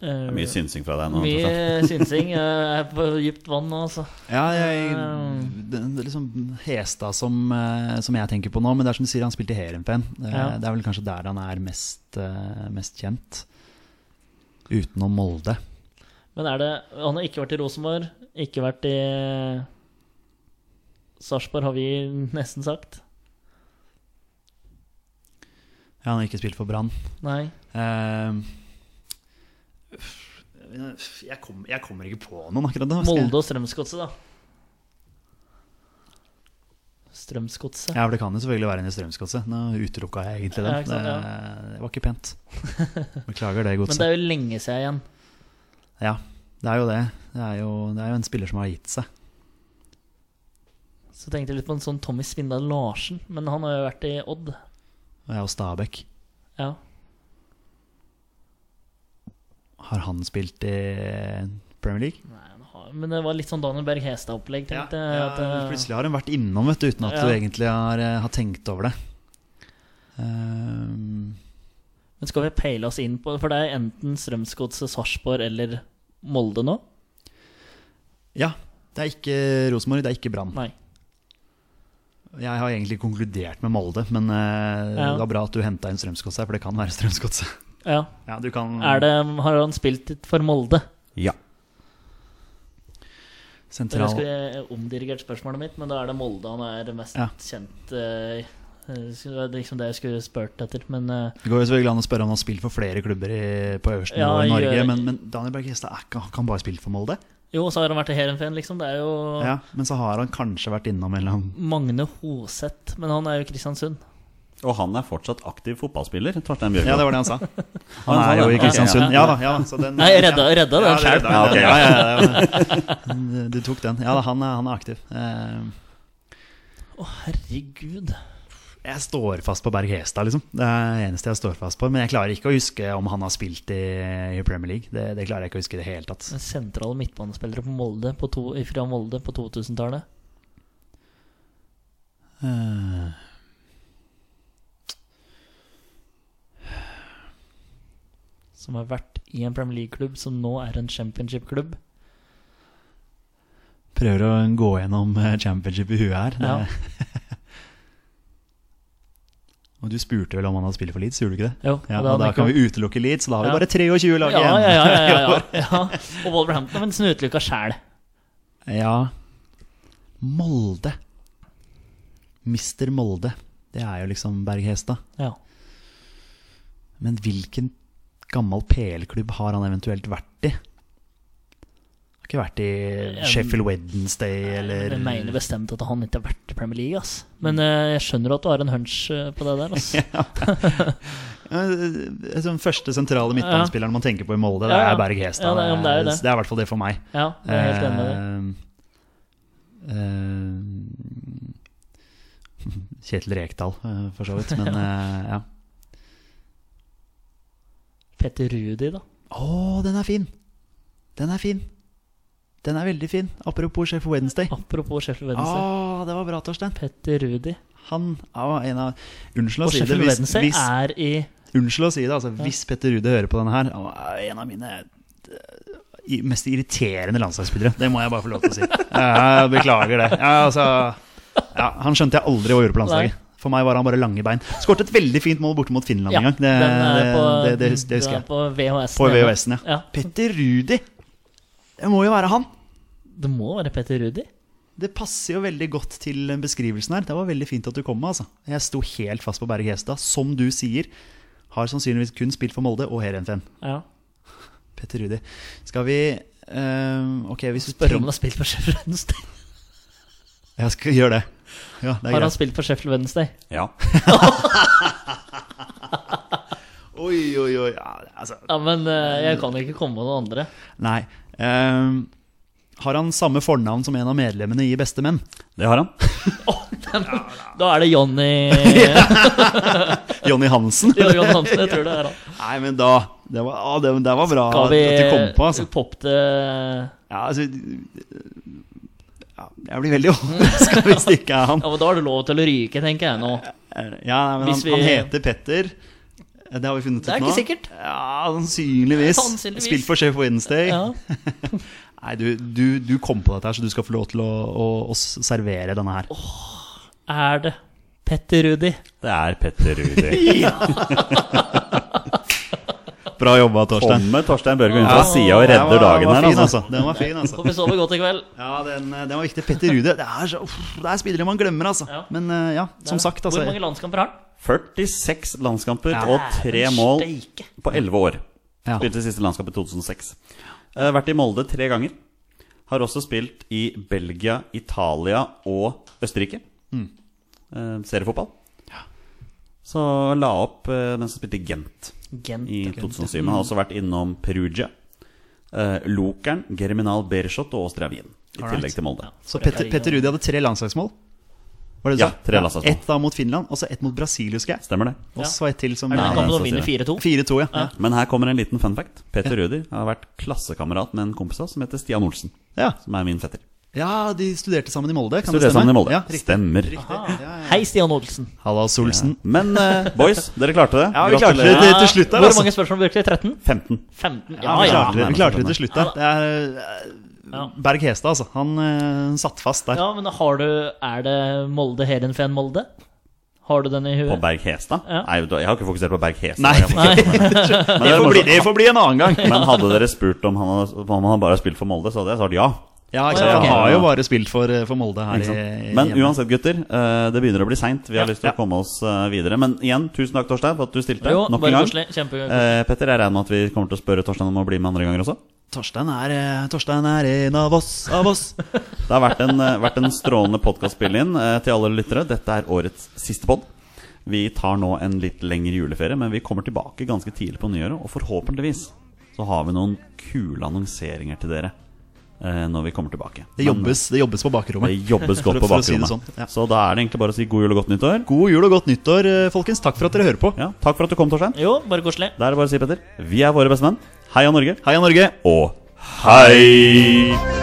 B: Det er mye synsing fra deg nå. Torstein.
D: Eh, Mye synsing. Jeg er på dypt vann nå, altså.
C: Ja, jeg,
D: Mm.
C: det det er liksom Hestad som, eh, som jeg tenker på nå, men det er som du sier, han spilte i Heerenveen. Eh,
D: Ja.
C: Det er vel kanskje der han er mest, eh, mest kjent. Utenom Molde.
D: Men er det Han har ikke vært i Rosenborg, ikke vært i Sarpsborg, har vi nesten sagt.
C: Ja, han har ikke spilt for Brann.
D: Nei.
C: Eh, jeg, kom, jeg kommer ikke på noen akkurat nå. skal jeg-
D: Molde og Strømsgodset, da. Strømsgodset.
C: Ja, for det kan jo selvfølgelig være en i Strømsgodset. Nå utelukka jeg egentlig
D: Ja,
C: den. eh,
D: ikke sant, ja.
C: det, det var ikke pent. Beklager det,
D: Men
C: godset.
D: det er jo lenge siden igjen.
C: Ja, det er jo det. Det er jo, det er jo en spiller som har gitt seg.
D: Så tenkte jeg litt på en sånn Tommy Svindal Larsen, men han har jo vært i Odd.
C: Og jeg og Stabæk.
D: Ja.
C: Har han spilt i Premier League?
D: Nei, han har men det var litt sånn Daniel Berg Hestad-opplegg,
C: Ja,
D: tenkte jeg.
C: ja,
D: At, eh,
C: plutselig har hun vært innom vet du, uten at
D: Ja.
C: du egentlig har, eh, har tenkt over det. Ehm,
D: men skal vi peile oss inn på For det er enten Strømsgodset, Sarpsborg eller Molde nå?
C: ja, det er ikke Rosenborg, det er ikke Brann.
D: Nei.
C: Jeg har egentlig konkludert med Molde, men eh,
D: Ja.
C: det var bra at du henta inn Strømsgodset her, for det kan være Strømsgodset.
D: Ja.
C: Ja, du kan
D: Er det, har han spilt for Molde?
B: Ja.
D: Jeg
C: sentral...
D: skulle jeg omdirigert spørsmålet mitt, men da er det Molde han er mest
C: Ja.
D: kjent eh, eh, Det var liksom det jeg skulle spurt etter, men eh,
C: Det går jo selvfølgelig an å spørre om han har spilt for flere klubber i, på øverste
D: Ja,
C: nivå i Norge,
D: gjør-
C: men, men Daniel Berg Hestad er ikke- han kan bare spille for Molde.
D: Jo, så har han vært i Heerenveen, liksom. Det er jo
C: Ja, men så har han kanskje vært innom en eller annen
D: Magne Hoseth, men han er jo i Kristiansund.
B: Og han er fortsatt aktiv fotballspiller, Torstein Bjørgo.
C: Ja, det var det han sa. Han
B: sa
C: er jo
B: det.
C: i Kristiansund. Ja da. ja da så den,
D: Nei, jeg redda,
C: ja.
D: redda
C: Ja,
D: den selv.
C: redda
B: Ja,
C: den.
B: ok,
C: ja, ja, ja. Du eh, tok den. Ja da, han er, han er aktiv. Eh,
D: Å, herregud.
C: Jeg står fast på Berg Hestad, liksom. Det er det eneste jeg står fast på. Men jeg klarer ikke å huske om han har spilt i, i Premier League. Det, det klarer jeg ikke å huske i det hele tatt.
D: Sentrale midtbanespillere på Molde på to, fra Molde på 2000-tallet.
C: Eh,
D: Som har vært i en Premier League-klubb som nå er en championship-klubb.
C: Prøver å gå gjennom eh, championship i huet her. Eh,
D: Ja.
C: Og du spurte vel om han hadde spilt for Leeds, gjorde du ikke det?
D: Jo,
C: Ja,
D: det hadde
C: og da
D: han
C: kan
D: ikke.
C: vi utelukke Leeds, så da har
D: Ja.
C: vi bare 23 lag
D: Ja, ja,
C: igjen.
D: ja, ja, ja, ja, ja. Og Wolverhampton har nesten utelukka sjæl.
C: Ja. Molde. Mister Molde. Det er jo liksom Berghestad.
D: Ja.
C: Men hvilken gammel PL-klubb har han eventuelt vært i? Har ikke vært i Sheffield Wednesday eller
D: Jeg mener bestemt at han ikke har vært i Premier League. Ass. Men eh, jeg skjønner at du har en hunch eh, på det der. Ass.
C: Eh, Som første sentrale midtbanespilleren man tenker på i Molde, det
D: Ja, ja.
C: er Berg Hestad.
D: Ja, det er- det er jo det.
C: Så det er i hvert fall det for meg.
D: Ja, jeg er helt enig med deg.
C: Eh, eh, Kjetil Rekdal, eh, for så vidt. Men eh, ja.
D: Petter Rudi, da.
C: Å, den er fin! Den er fin. Den er veldig fin. Apropos Chef Wednesday.
D: Apropos Sheffield
C: Å,
D: Wednesday.
C: det var bra, Torstein.
D: Petter Rudi.
C: Han var en av Unnskyld å
D: Og
C: si det,
D: Sheffield
C: hvis,
D: Wednesday
C: hvis,
D: er i
C: unnskyld å si det altså, hvis Petter Rude hører på denne her Han var en av mine eh, i- mest irriterende landslagsspillere. Det må jeg bare få lov til å si. Jeg beklager det. Ja, altså, ja, han skjønte jeg aldri hva gjorde på landslaget. For meg var han bare lange bein. Skåret et veldig fint mål borte mot Finland en gang. Det,
D: den er på,
C: det, det, hus- det husker
D: den er
C: jeg.
D: På VHS.
C: På VHS-en, ja.
D: ja.
C: Petter Rudi! Det må jo være han!
D: Det må være Petter Rudi.
C: Det passer jo veldig godt til beskrivelsen her. Det var veldig fint at du kom med, altså. Jeg sto helt fast på Berg Hestad. Som du sier, har sannsynligvis kun spilt for Molde og Heerenveen.
D: Ja.
C: Petter Rudi. Skal vi eh, Ok, hvis du
D: Spør om han har spilt for Sheffield Wednesday.
C: Ja, skal gjøre det. Ja, det er
D: Har han
C: greit.
D: spilt for Sheffield Wednesday?
B: Ja.
C: Oi, oi, oi. Ja, altså.
D: Ja, men eh, jeg kan ikke komme med noen andre.
C: Nei. Eh, har han samme fornavn som en av medlemmene i Bestemenn?
B: Det har han.
D: Da er det Jonny
C: Jonny Hansen?
D: Jo, Johnny Hansen. Jeg tror det er han.
C: Nei, men da Det var, ah, det, det var bra
D: Skal vi
C: at du kom på, altså.
D: poppe det
C: Ja, altså ja, Jeg blir veldig overraska hvis det ikke er han.
D: Ja, men Da har du lov til å ryke, tenker jeg nå.
C: Ja, nei, men han,
D: Hvis vi-
C: han heter Petter. Eh, Det har vi funnet ut nå.
D: Det er ikke sikkert.
C: Ja, sannsynligvis.
D: Sannsynligvis.
C: Spilt for Chef Wednesday.
D: Ja.
C: Nei, du, du, du kom på dette her, så du skal få lov til å, å, å servere denne her.
D: Er det Petter Rudi?
B: Det er Petter Rudi.
C: Bra jobba, Torstein.
B: Kommer Torstein Børgo inn fra sida og redder dagen her,
C: fin,
B: altså.
C: altså. Den var fin, altså.
D: Får vi sove godt i kveld?
C: Ja, den, eh, den var viktig. Petter Rude. Det er, så, uff, det er spillere man glemmer, altså.
D: Ja.
C: Men eh, ja, som sagt, altså.
D: Hvor mange landskamper har han?
B: 46 landskamper og tre
D: Dæven
B: mål
D: steike.
B: på 11 år.
C: Ja.
B: Spilte siste landskamp i 2006. Eh, Vært i Molde tre ganger. Har også spilt i Belgia, Italia og Østerrike.
C: Mm.
B: Eh, Seriefotball. Så la opp eh, den som spilte i Gent
D: Gent.
B: i 2007. Han
C: Mm.
B: har også vært innom Perugia, eh, Lokeren, Germinal Bershot og Austria Wien. I tillegg til Molde.
C: Så Petter, Petter Rude hadde tre landslagsmål. Var det du
B: Ja,
C: sa?
B: tre landslagsmål.
C: Ett da mot Finland, og så ett mot Brasil, husker jeg.
B: Stemmer det.
D: Ja.
C: Oss var ett til som
D: Er det
B: Ja,
D: den kampen
B: det
D: de
B: synes
D: vinner 4-2?
C: 4-2, ja. ja.
D: Ja.
B: Men her kommer en liten fun fact. Peter Rudi har vært klassekamerat med en kompis av oss som heter Stian Olsen.
C: Ja.
B: Som er min fetter.
C: Ja, de studerte sammen i Molde, kan
B: Så det
C: det stemme?
B: sammen i Molde.
C: Ja, riktig.
B: Stemmer.
D: Hei, Stian Olsen.
C: Halla, Solsen.
B: Men eh, boys, dere klarte det.
C: Ja, vi klarte
B: Gratulerer.
C: det. til slutt der,
D: Hvor
C: altså.
D: mange spørsmål brukte vi? 13?
B: 15.
D: 15?
C: Ja,
D: Ja,
C: vi
D: ja.
C: klarte det, vi klarte det til slutt der. Det er
D: Ja.
C: eh, Berg Hestad, altså. Han eh, satt fast der.
D: ja men har du Er det Molde Heerenveen Molde? Har du den i
B: På
D: huet?
B: Berg Hestad?
D: Ja.
B: Nei, vet du hva, jeg har ikke fokusert på Berg Hestad.
C: Nei.
B: Jeg har fokusert på
C: Det
B: meg. Men det er
C: får, bli,
B: morsomt.
C: det får bli en annen gang.
B: Men hadde dere spurt om han, hadde- om han bare har spilt for Molde, så hadde jeg svart ja.
C: Ja, ikke
D: Å,
C: sant?
D: ja,
C: Han
D: ok.
C: har jo bare spilt for, eh, for Molde her
B: Ikke
C: i,
B: sant?
C: i
B: Men
C: hjemme.
B: uansett, gutter, eh, det begynner å bli seint. Vi har
D: Ja.
B: lyst til
C: Ja.
B: å komme oss eh, videre. Men igjen, tusen takk, Torstein, for at du stilte.
D: Jo,
B: nok en
D: bare
B: gang.
D: koselig. Kjempekoselig.
B: Eh, Petter, jeg regner med at vi kommer til å spørre Torstein om å bli med andre ganger også.
C: Torstein er, eh, Torstein er en av oss, av oss.
B: Det har vært en, eh, vært en strålende podkastspill-inn eh, til alle lyttere. Dette er årets siste pod. Vi tar nå en litt lengre juleferie, men vi kommer tilbake ganske tidlig på nyåret. Og forhåpentligvis så har vi noen kule annonseringer til dere eh, når vi kommer tilbake.
C: Det jobbes, det jobbes på
B: Det
C: bakrommet.
B: jobbes godt
C: For å-
B: på
C: for å si det
B: bakrommet.
C: sånn, ja.
B: Så da er det egentlig bare å si god jul og godt nyttår.
C: God jul og godt nyttår, eh, folkens. Takk for at dere hører på.
B: Ja, takk for at du kom, Torstein.
D: Jo, bare koselig.
B: Da er det bare å si, Petter, vi er våre bestemenn. Heia Norge.
C: Heia Norge.
B: Og hei!